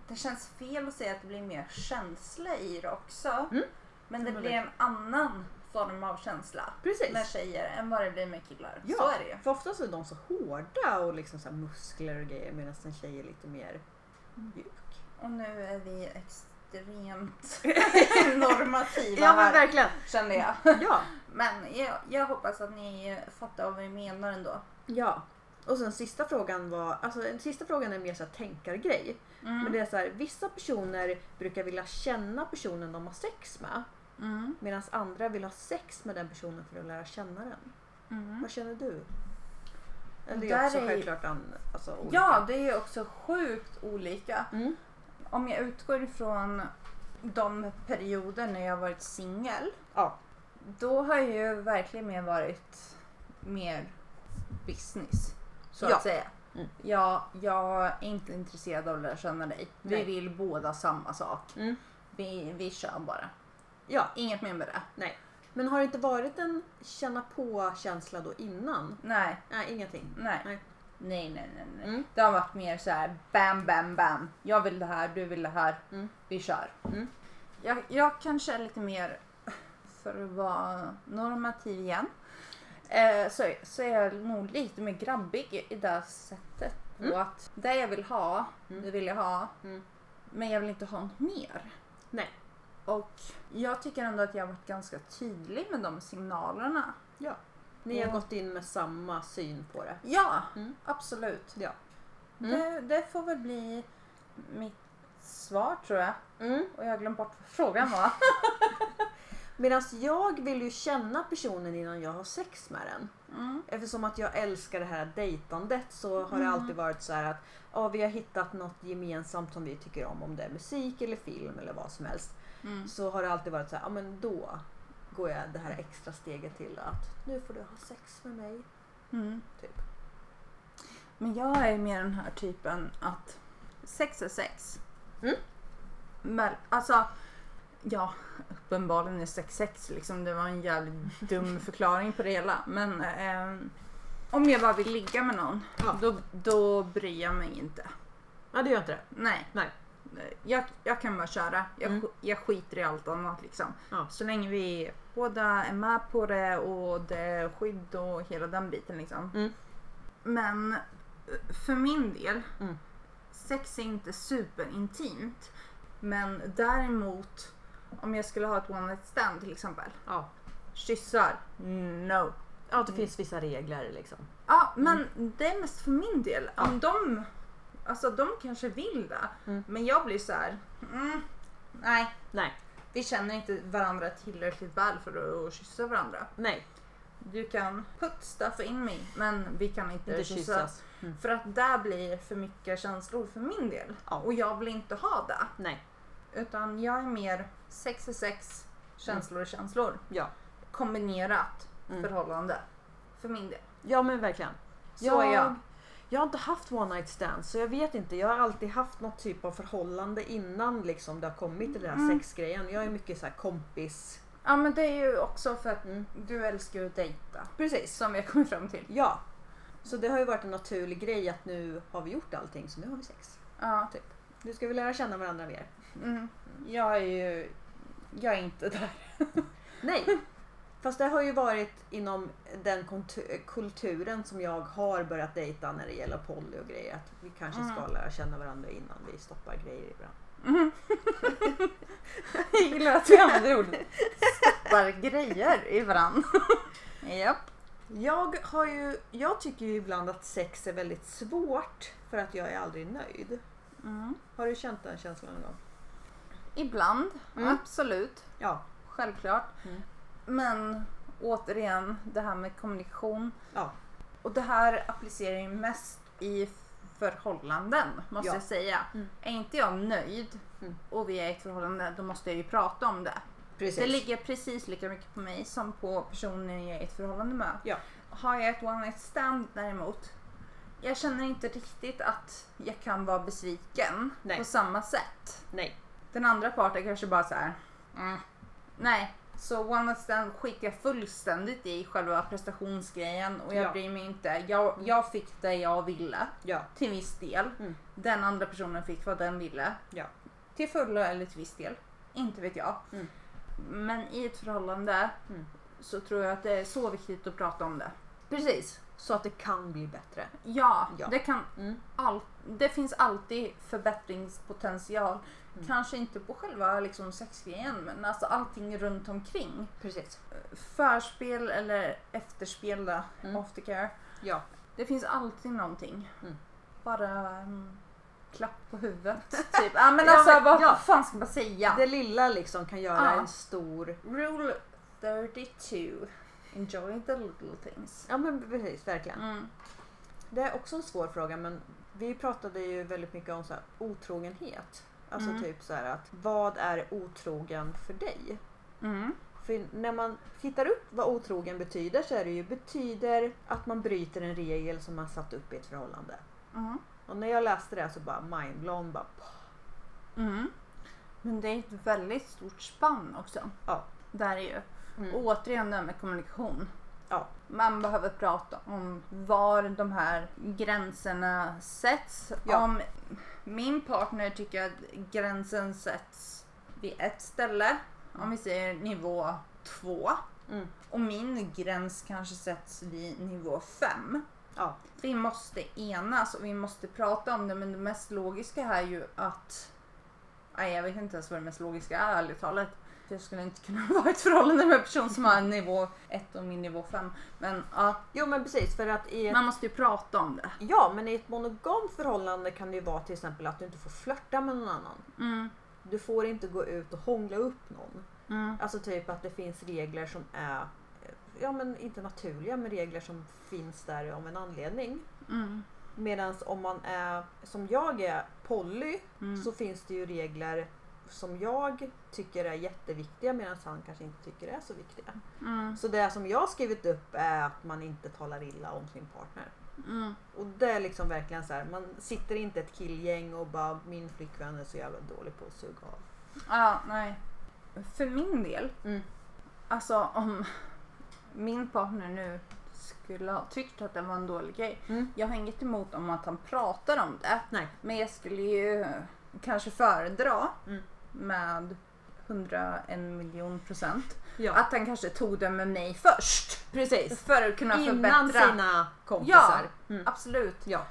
S1: Det känns fel att säga att det blir mer känsla i det också.
S2: Mm.
S1: Men det
S2: Ja, men
S1: blir
S2: det-
S1: en annan form av känsla
S2: Precis!
S1: med tjejer än vad det blir med killar.
S2: Ja.
S1: Så är det ju.
S2: För oftast är de så hårda och liksom så här muskler och grejer medan en tjej är lite mer
S1: Mm.
S2: mjuk.
S1: Och nu är vi extremt normativa här,
S2: verkligen!
S1: kände jag.
S2: Ja,
S1: Men jag, jag hoppas att ni fattar vad vi menar ändå.
S2: ja. Och sen sista frågan var, alltså den sista frågan är mer så här tänkargrej.
S1: Mm.
S2: Men det är så här, vissa personer brukar vilja känna personen de har sex med.
S1: Mm.
S2: Medan andra vill ha sex med den personen för att lära känna den.
S1: Mm.
S2: Vad känner du? Eller det
S1: Där
S2: är också
S1: är ju-
S2: självklart an, alltså, olika.
S1: Ja, det är ju också sjukt olika.
S2: Mm.
S1: Om jag utgår ifrån de perioder när jag varit singel.
S2: Ja.
S1: Då har jag ju verkligen mer varit mer business. Så
S2: Ja.
S1: att säga.
S2: Mm.
S1: Ja, jag är inte intresserad av att lära känna dig. Vi
S2: Nej.
S1: vill båda samma sak.
S2: Mm.
S1: Vi, vi kör bara.
S2: ja.
S1: Inget mer med det.
S2: Men har det inte varit en känna på-känsla då innan?
S1: Nej,
S2: Nej, ingenting.
S1: nej.
S2: Nej.
S1: Nej, nej, nej. nej.
S2: Mm.
S1: Det har varit mer så här bam, bam, bam. Jag vill det här, du vill det här.
S2: Mm.
S1: Vi kör.
S2: Mm.
S1: Jag, jag kanske är lite mer, för att vara normativ igen, eh, så, så är jag nog lite mer grabbig i- i det sättet. På
S2: Mm.
S1: att det jag vill ha,
S2: Mm.
S1: det vill jag ha.
S2: Mm.
S1: Men jag vill inte ha något mer.
S2: Nej.
S1: Och jag tycker ändå att jag har varit ganska tydlig med de signalerna.
S2: Ni har
S1: Mm.
S2: gått in med samma syn på det.
S1: Ja,
S2: Mm.
S1: absolut.
S2: Ja. Mm.
S1: Det, det får väl bli mitt svar tror jag.
S2: Mm.
S1: Och jag har glömt bort vad frågan var.
S2: Medan jag vill ju känna personen innan jag har sex med den. Eftersom att jag älskar det här dejtandet så har det
S1: Mm.
S2: alltid varit så här att ja, vi har hittat något gemensamt som vi tycker om. Om det är musik eller film eller vad som helst.
S1: Mm.
S2: Så har det alltid varit så här, ja men då går jag det här extra steget till att nu får du ha sex med mig.
S1: Mm.
S2: Typ.
S1: Men jag är mer den här typen att sex är sex.
S2: Mm.
S1: Men alltså, ja, uppenbarligen är sex sex liksom. Det var en jävligt dum förklaring på det hela. Men ehm, om jag bara vill ligga med någon,
S2: Ja.
S1: då, då bryr jag mig inte.
S2: Ja, det gör inte det.
S1: Nej.
S2: Nej.
S1: Jag, jag kan bara köra. Jag,
S2: Mm.
S1: sk- jag skiter i allt annat liksom.
S2: Ja.
S1: Så länge vi båda är med på det och det är skydd och hela den biten liksom.
S2: Mm.
S1: Men eh, för min del,
S2: Mm.
S1: sex är inte superintimt. Men däremot, om jag skulle ha ett one night stand till exempel.
S2: Ja.
S1: Kyssar? No.
S2: Ja, det finns vissa regler liksom.
S1: Ja, men det är mest för min del.
S2: Ja.
S1: Om de, alltså de kanske vill det,
S2: Mm.
S1: men jag blir så här. Mm, nej,
S2: Nej,
S1: vi känner inte varandra tillräckligt väl för att kyssa varandra.
S2: nej,
S1: Du kan put stuff in mig, men vi kan inte,
S2: inte
S1: kyssa.
S2: kyssas. Mm.
S1: För att där blir för mycket känslor för min del.
S2: Ja.
S1: Och jag vill inte ha det.
S2: Nej,
S1: Utan jag är mer sex är sex, känslor är känslor.
S2: ja.
S1: Kombinerat
S2: Mm.
S1: förhållande. För min del.
S2: Ja men verkligen.
S1: Så är jag.
S2: Jag har inte haft one night stands så jag vet inte. Jag har alltid haft något typ av förhållande innan liksom det har kommit till den här
S1: Mm.
S2: sexgrejen. Jag är mycket så här kompis.
S1: Ja men det är ju också för att
S2: Mm.
S1: du älskar ju att dejta.
S2: Precis.
S1: Som jag kommer fram till.
S2: Ja. Så det har ju varit en naturlig grej att nu har vi gjort allting så nu har vi sex.
S1: Ja.
S2: Nu ska vi lära känna varandra mer.
S1: Mm. Jag är ju... Jag är inte där.
S2: Nej! Fast det har ju varit inom den kontu- kulturen som jag har börjat dejta när det gäller poly och grejer. Att vi kanske
S1: Mm.
S2: ska lära känna varandra innan vi stoppar grejer i varandra.
S1: Jag gillar att vi använder ordet stoppar grejer i varandra. Japp.
S2: Jag, har ju, jag tycker ju ibland att sex är väldigt svårt för att jag är aldrig nöjd.
S1: Mm.
S2: Har du känt den känslan någon gång?
S1: Ibland,
S2: Mm.
S1: absolut.
S2: Ja.
S1: Självklart.
S2: Mm.
S1: Men återigen, det här med kommunikation.
S2: Ja.
S1: Och det här applicerar ju mest i förhållanden, måste
S2: Ja.
S1: jag säga.
S2: Mm.
S1: Är inte jag nöjd
S2: Mm.
S1: och vi är i ett förhållande, då måste jag ju prata om det.
S2: Precis.
S1: Det ligger precis lika mycket på mig som på personen jag är i ett förhållande med.
S2: Ja.
S1: Har jag ett one night stand däremot, jag känner inte riktigt att jag kan vara besviken
S2: Nej.
S1: på samma sätt.
S2: Nej.
S1: Den andra parten kanske bara så här. Mm. Nej, så one night stand skiter jag fullständigt i själva prestationsgrejen och jag
S2: Ja.
S1: bryr mig inte. Jag, jag fick det jag ville
S2: Ja.
S1: till viss del.
S2: Mm.
S1: Den andra personen fick vad den ville.
S2: Ja.
S1: Till fullo eller till viss del. Inte vet jag.
S2: Mm.
S1: Men i ett förhållande
S2: Mm.
S1: så tror jag att det är så viktigt att prata om det.
S2: Precis. Så att det kan bli bättre.
S1: Ja,
S2: Ja.
S1: Det, kan
S2: Mm.
S1: all, det finns alltid förbättringspotential.
S2: Mm.
S1: Kanske inte på själva liksom, sexgrejen men alltså allting runt omkring.
S2: Precis.
S1: Förspel eller efterspel, då,
S2: Mm.
S1: aftercare.
S2: Ja.
S1: Det finns alltid någonting.
S2: Mm.
S1: Bara mm, klapp på huvudet. Typ. Ja, men
S2: Ja,
S1: alltså,
S2: men-
S1: vad
S2: ja.
S1: fan ska man säga?
S2: Det lilla liksom kan göra
S1: Ja.
S2: en stor...
S1: Rule 32. Enjoy the little things.
S2: Ja men precis, verkligen.
S1: Mm.
S2: Det är också en svår fråga men vi pratade ju väldigt mycket om så här, otrogenhet. Alltså
S1: Mm.
S2: typ så här att vad är otrogen för dig?
S1: Mm.
S2: För när man tittar upp vad otrogen betyder så är det ju betyder att man bryter en regel som man satt upp i ett förhållande.
S1: Mm.
S2: Och när jag läste det så bara mindblown bara pah.
S1: Mm. Men det är ett väldigt stort spann också.
S2: Ja.
S1: Där är ju.
S2: Mm.
S1: Och återigen det här med kommunikation.
S2: Ja.
S1: Man behöver prata om var de här gränserna sätts.
S2: Ja.
S1: Om min partner tycker att gränsen sätts vid ett ställe, om vi säger nivå två.
S2: Mm.
S1: Och min gräns kanske sätts vid nivå fem.
S2: Ja.
S1: Vi måste enas och vi måste prata om det men det mest logiska här är ju att... Nej, jag vet inte ens vad det mest logiska är ärligt talat. Jag skulle inte kunna vara i ett förhållande med en person som har en nivå 1 och min nivå 5. Men ja,
S2: Jo men precis för att i ett,
S1: man måste ju prata om det.
S2: ja, men i ett monogamt förhållande kan det ju vara till exempel att du inte får flörta med någon annan.
S1: Mm,
S2: Du får inte gå ut och hångla upp någon.
S1: mm,
S2: Alltså typ att det finns regler som är, eh, ja men inte naturliga, men regler som finns där av en anledning.
S1: mm,
S2: Medan om man är, som jag är, poly,
S1: Mm.
S2: så finns det ju regler som jag tycker är jätteviktiga medan han kanske inte tycker är så viktiga.
S1: Mm.
S2: Så det som jag har skrivit upp är att man inte talar illa om sin partner.
S1: Mm.
S2: Och det är liksom verkligen så här, man sitter inte i ett killgäng och bara min flickvän är så jävla dålig på att suga av.
S1: Ja, nej. För min del,
S2: Mm.
S1: alltså om min partner nu skulle ha tyckt att det var en dålig grej.
S2: Mm.
S1: Jag har inget emot om att han pratar om det.
S2: Nej.
S1: Men jag skulle ju kanske föredra
S2: Mm.
S1: med 101 miljon procent
S2: Ja.
S1: att han kanske tog det med mig först.
S2: precis.
S1: För att kunna
S2: Innan
S1: förbättra.
S2: sina
S1: Ja,
S2: kompisar. Mm.
S1: absolut.
S2: Ja.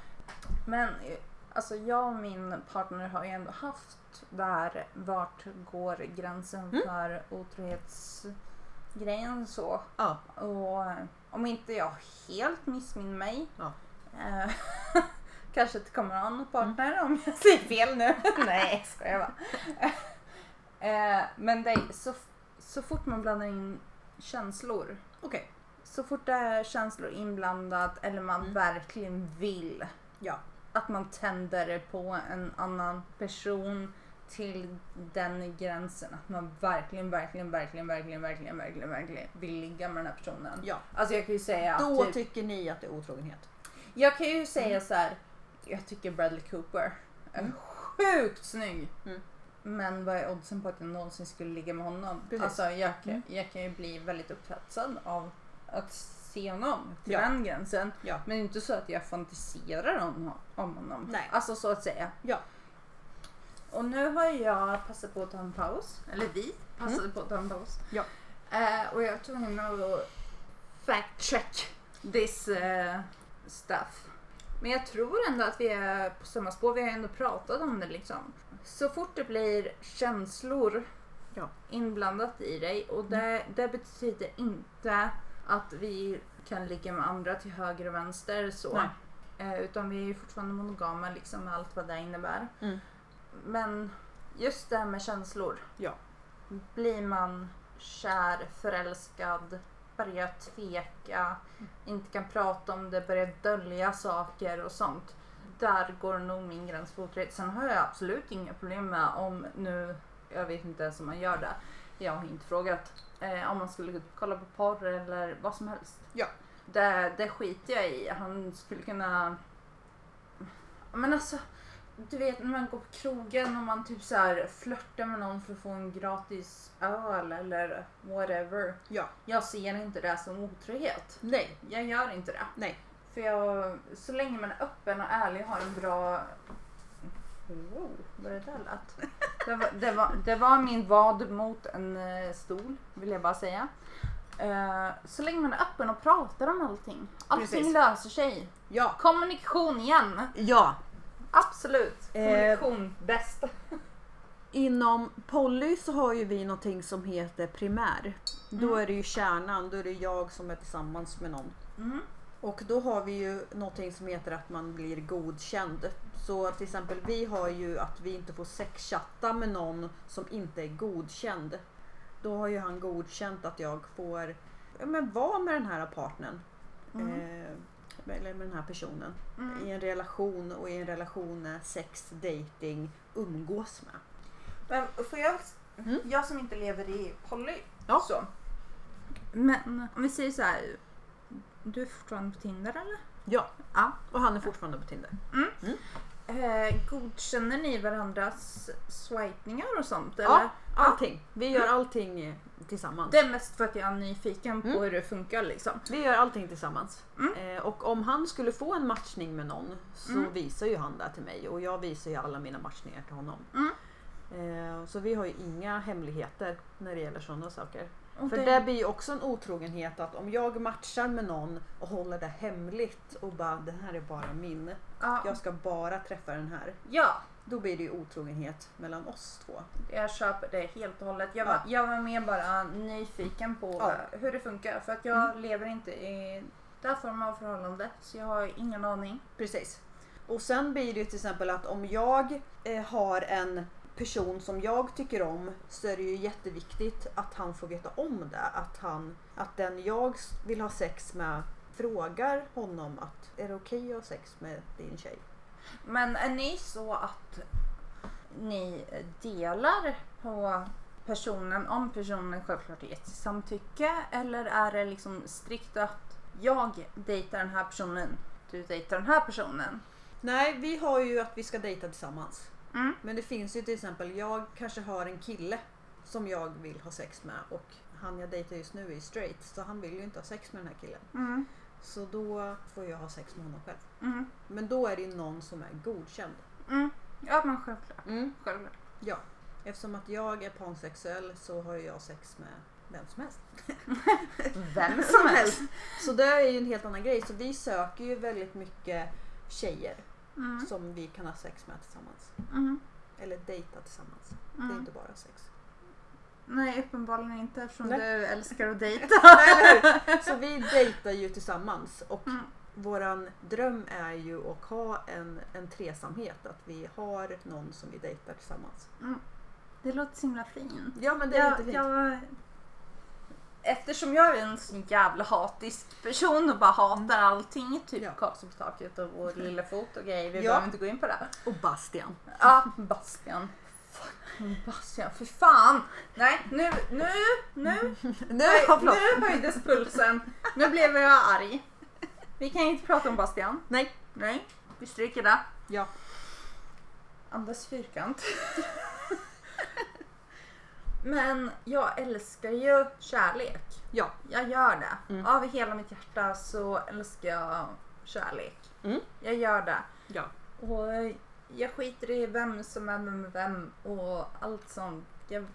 S1: Men eh, alltså jag och min partner har ju ändå haft det här vart går gränsen
S2: Mm.
S1: för otrohetsgrejen så.
S2: Ja.
S1: Och eh, om inte jag helt missminner mig
S2: Ja.
S1: eh, kanske det kommer att ha någon partner om jag säger fel nu. Nej, ska jag bara. Eh, men det, är- så, så fort man blandar in känslor
S2: Okej.
S1: så fort det är känslor inblandat eller man
S2: Mm.
S1: verkligen vill
S2: Ja.
S1: att man tänder på en annan person till den gränsen att man verkligen, verkligen, verkligen, verkligen, verkligen, verkligen, verkligen vill ligga med den här personen.
S2: ja.
S1: Alltså jag kan ju säga
S2: Då
S1: typ,
S2: tycker ni att det är otrogenhet.
S1: jag kan ju säga så här. jag tycker Bradley Cooper är
S2: Mm.
S1: sjukt snygg.
S2: Mm.
S1: Men vad är oddsen på att jag någonsin skulle ligga med honom?
S2: Precis.
S1: Alltså jag kan,
S2: Mm.
S1: jag kan ju bli väldigt upphetsad av att se honom till
S2: Ja.
S1: den gränsen.
S2: Ja.
S1: Men det är inte så att jag fantiserar om, om honom.
S2: Nej.
S1: Alltså så att säga.
S2: Ja.
S1: Och nu har jag passat på att ta en paus. Eller vi passade på att ta en paus.
S2: Mm. Ja.
S1: Eh, och jag tog in och fact check this eh, stuff. Men jag tror ändå att vi är på samma spår. Vi har ju ändå pratat om det liksom. Så fort det blir känslor
S2: Ja.
S1: inblandat i dig och det, det betyder inte att vi kan ligga med andra till höger och vänster så.
S2: Nej.
S1: Eh, utan vi är ju fortfarande monogama liksom med allt vad det innebär.
S2: Mm.
S1: Men just det här med känslor.
S2: Ja.
S1: Blir man kär, förälskad, börjar tveka,
S2: Mm.
S1: inte kan prata om det, börjar dölja saker och sånt. Där går nog min gräns för otrohet. Sen har jag absolut inga problem med om nu, jag vet inte ens om man gör det, jag har inte frågat, eh, om man skulle kolla på porr eller vad som helst.
S2: Ja.
S1: Det, det skiter jag i. Han skulle kunna... Men alltså, du vet när man går på krogen och man typ så här flörtar med någon för att få en gratis öl eller whatever.
S2: Ja.
S1: Jag ser inte det som otrohet.
S2: Nej.
S1: Jag gör inte det.
S2: Nej.
S1: För jag, så länge man är öppen och ärlig och har en bra... Wow, vad det där lät. Det var, det, var, det var min vad mot en eh, stol, vill jag bara säga. Eh, Så länge man är öppen och pratar om allting. Allting
S2: Precis.
S1: löser sig.
S2: Ja.
S1: Kommunikation igen.
S2: Ja.
S1: Absolut.
S2: Eh.
S1: Kommunikation bäst.
S2: Inom poly så har ju vi någonting som heter primär. Då är det ju kärnan, då är det jag som är tillsammans med någon.
S1: Mm.
S2: Och då har vi ju någonting som heter att man blir godkänd. Så till exempel vi har ju att vi inte får sexchatta med någon som inte är godkänd. Då har ju han godkänt att jag får ja, men vara med den här partnern. Eh, eller med den här personen.
S1: Mm.
S2: I en relation och i en relation är sex, dating, umgås med.
S1: Men får jag,
S2: Mm.
S1: jag som inte lever i poly.
S2: Ja.
S1: Så. Men om vi säger så här. Du är fortfarande på Tinder eller?
S2: Ja,
S1: Ja.
S2: och han är fortfarande på Tinder.
S1: Eh, godkänner ni varandras swipningar och sånt? Eller?
S2: Ja, allting. Vi gör allting eh, tillsammans.
S1: Det är mest för att jag är nyfiken på
S2: Mm.
S1: hur det funkar liksom.
S2: Vi gör allting tillsammans.
S1: Mm.
S2: Eh, och om han skulle få en matchning med någon så
S1: Mm.
S2: visar ju han det till mig och jag visar ju alla mina matchningar till honom.
S1: Mm.
S2: Eh, så vi har ju inga hemligheter när det gäller sådana saker.
S1: Och
S2: För det blir ju också en otrogenhet att om jag matchar med någon och håller det hemligt och bara den här är bara min,
S1: ja,
S2: jag ska bara träffa den här.
S1: ja,
S2: Då blir det ju otrogenhet mellan oss två.
S1: jag köper det helt och hållet. Jag var,
S2: Ja.
S1: jag var mer bara nyfiken på
S2: Ja.
S1: hur det funkar för att jag lever inte i den här formen av förhållande så jag har ingen aning.
S2: Precis. Och sen blir det ju till exempel att om jag eh, har en person som jag tycker om så är det ju jätteviktigt att han får veta om det. Att, han, att den jag s- vill ha sex med frågar honom att är det okej att ha sex med din tjej?
S1: Men är ni så att ni delar på personen, om personen självklart har gett sitt samtycke eller är det liksom strikt att jag dejtar den här personen, du dejtar den här personen.
S2: Nej, vi har ju att vi ska dejta tillsammans.
S1: Mm.
S2: Men det finns ju till exempel, jag kanske har en kille som jag vill ha sex med och han jag dejtar just nu är straight så han vill ju inte ha sex med den här killen.
S1: Mm.
S2: Så då får jag ha sex med honom själv.
S1: Mm.
S2: Men då är det ju någon som är godkänd.
S1: Mm. Ja men självklart. självklart.
S2: Ja. Eftersom att jag är pansexuell så har ju jag sex med vem som helst.
S1: Vem som helst.
S2: Så det är ju en helt annan grej. Så vi söker ju väldigt mycket tjejer
S1: Mm.
S2: som vi kan ha sex med tillsammans.
S1: Mm.
S2: Eller dejta tillsammans. Det är
S1: Mm.
S2: inte bara sex.
S1: Nej uppenbarligen inte eftersom
S2: Nej.
S1: du älskar att dejta.
S2: Nej, eller hur? så vi dejtar ju tillsammans och
S1: Mm.
S2: våran dröm är ju att ha en, en tresamhet. Att vi har någon som vi dejtar tillsammans.
S1: Det låter så himla fint.
S2: Ja men det är
S1: Jag,
S2: jättefint.
S1: jag, eftersom jag är en sån jävla hatisk person och bara hatar allting, typ
S2: Mm. Ja. Mm.
S1: Karlsson på taket och vår lilla fot och grejer, vi
S2: Ja.
S1: behöver inte gå in på det.
S2: Och Bastian.
S1: Ja, Bastian. Fucking Bastian, för fan! Nej, nu, nu, nu,
S2: Nu,
S1: nu höjdes pulsen. Nu blev jag arg. Vi kan inte prata om Bastian.
S2: Nej.
S1: Nej, vi stryker det.
S2: Ja.
S1: Andas fyrkant. Men jag älskar ju kärlek.
S2: Ja.
S1: Jag gör det.
S2: Mm.
S1: Av hela mitt hjärta så älskar jag kärlek.
S2: Mm.
S1: Jag gör det.
S2: Ja.
S1: Och jag skiter i vem som är med vem och allt sånt. Jag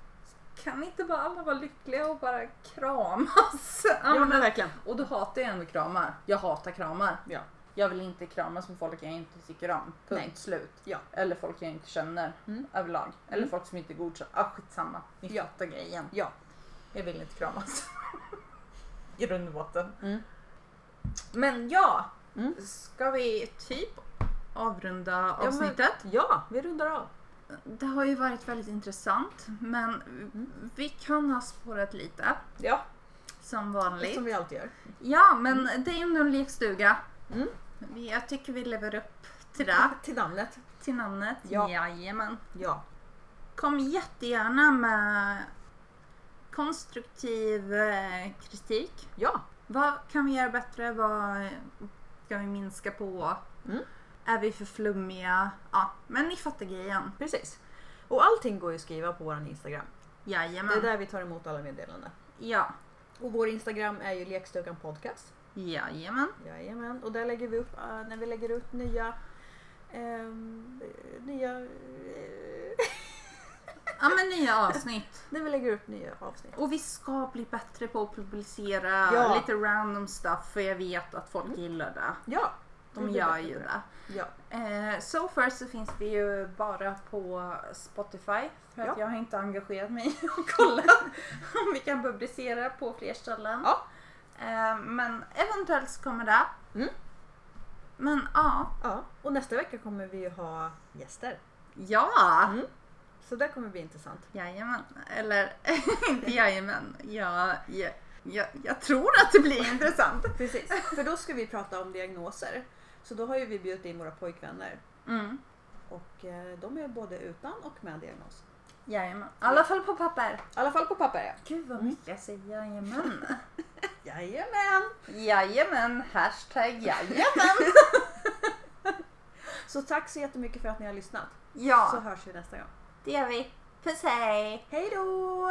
S1: kan inte bara alla vara lyckliga och bara kramas? Ja,
S2: Ja men
S1: men-
S2: verkligen.
S1: Och då hatar jag ändå kramar. Jag hatar kramar.
S2: Ja.
S1: Jag vill inte kramas med folk jag inte tycker om. Punkt
S2: Nej.
S1: slut.
S2: Ja.
S1: Eller folk jag inte känner
S2: Mm.
S1: överlag. Eller
S2: Mm.
S1: folk som inte är godkända. Ah, skitsamma. Ni
S2: Ja.
S1: fattar grejen.
S2: Ja.
S1: Jag vill inte kramas. I grund och botten.
S2: Mm.
S1: Men ja,
S2: Mm.
S1: ska vi typ avrunda
S2: men-
S1: avsnittet?
S2: Ja, vi rundar av.
S1: Det har ju varit väldigt intressant men vi kan ha spårat lite
S2: Ja,
S1: som Mm. vanligt.
S2: som vi alltid gör.
S1: Ja, men det är ändå en lekstuga.
S2: Mm.
S1: Vi- Jag tycker vi lever upp till det,
S2: Till namnet.
S1: till namnet.
S2: Ja.
S1: Jajamän.
S2: Ja.
S1: Kom jättegärna med konstruktiv eh, kritik.
S2: Ja.
S1: Vad kan vi göra bättre? Vad ska vi minska på?
S2: Mm.
S1: Är vi för flummiga? Ja, men ni fattar grejen.
S2: Precis. Och allting går ju att skriva på vår Instagram.
S1: Jajamän.
S2: Det är där vi tar emot alla meddelanden.
S1: Ja.
S2: Och vår Instagram är ju Lekstugan Podcast.
S1: Jajamän.
S2: Jajamän. Och där lägger vi upp, eh, när vi lägger ut nya... ehm, eh, nya... eh,
S1: Ja men nya avsnitt.
S2: när vi lägger upp nya avsnitt.
S1: Och vi ska bli bättre på att publicera
S2: Ja.
S1: lite random stuff för jag vet att folk gillar det.
S2: Ja.
S1: De
S2: vi blir
S1: gör
S2: bättre
S1: ju
S2: på
S1: det.
S2: Ja.
S1: Eh, so far så finns vi ju bara på Spotify för att
S2: Ja.
S1: jag har inte engagerat mig och kollat om vi kan publicera på fler ställen.
S2: Ja.
S1: Eh, men eventuellt så kommer det.
S2: Mm.
S1: Men ja.
S2: ja. Och nästa vecka kommer vi ju ha gäster.
S1: Ja!
S2: Mm. Så det kommer bli intressant.
S1: Jajamän. Eller inte jajamän. Ja, ja, jag, jag tror att det blir intressant.
S2: Precis, för då ska vi prata om diagnoser. Så då har ju vi bjudit in våra pojkvänner
S1: Mm.
S2: och eh, de är både utan och med diagnos.
S1: Jajamän. I alla fall på papper. Mm.
S2: I alla fall på papper ja.
S1: Gud vad mycket jag säger jajamän.
S2: Jajamän!
S1: jajamän, hashtag jajamän.
S2: Så tack så jättemycket för att ni har lyssnat. Så
S1: Ja,
S2: hörs vi nästa gång.
S1: det gör vi. Puss hej!
S2: Hej då!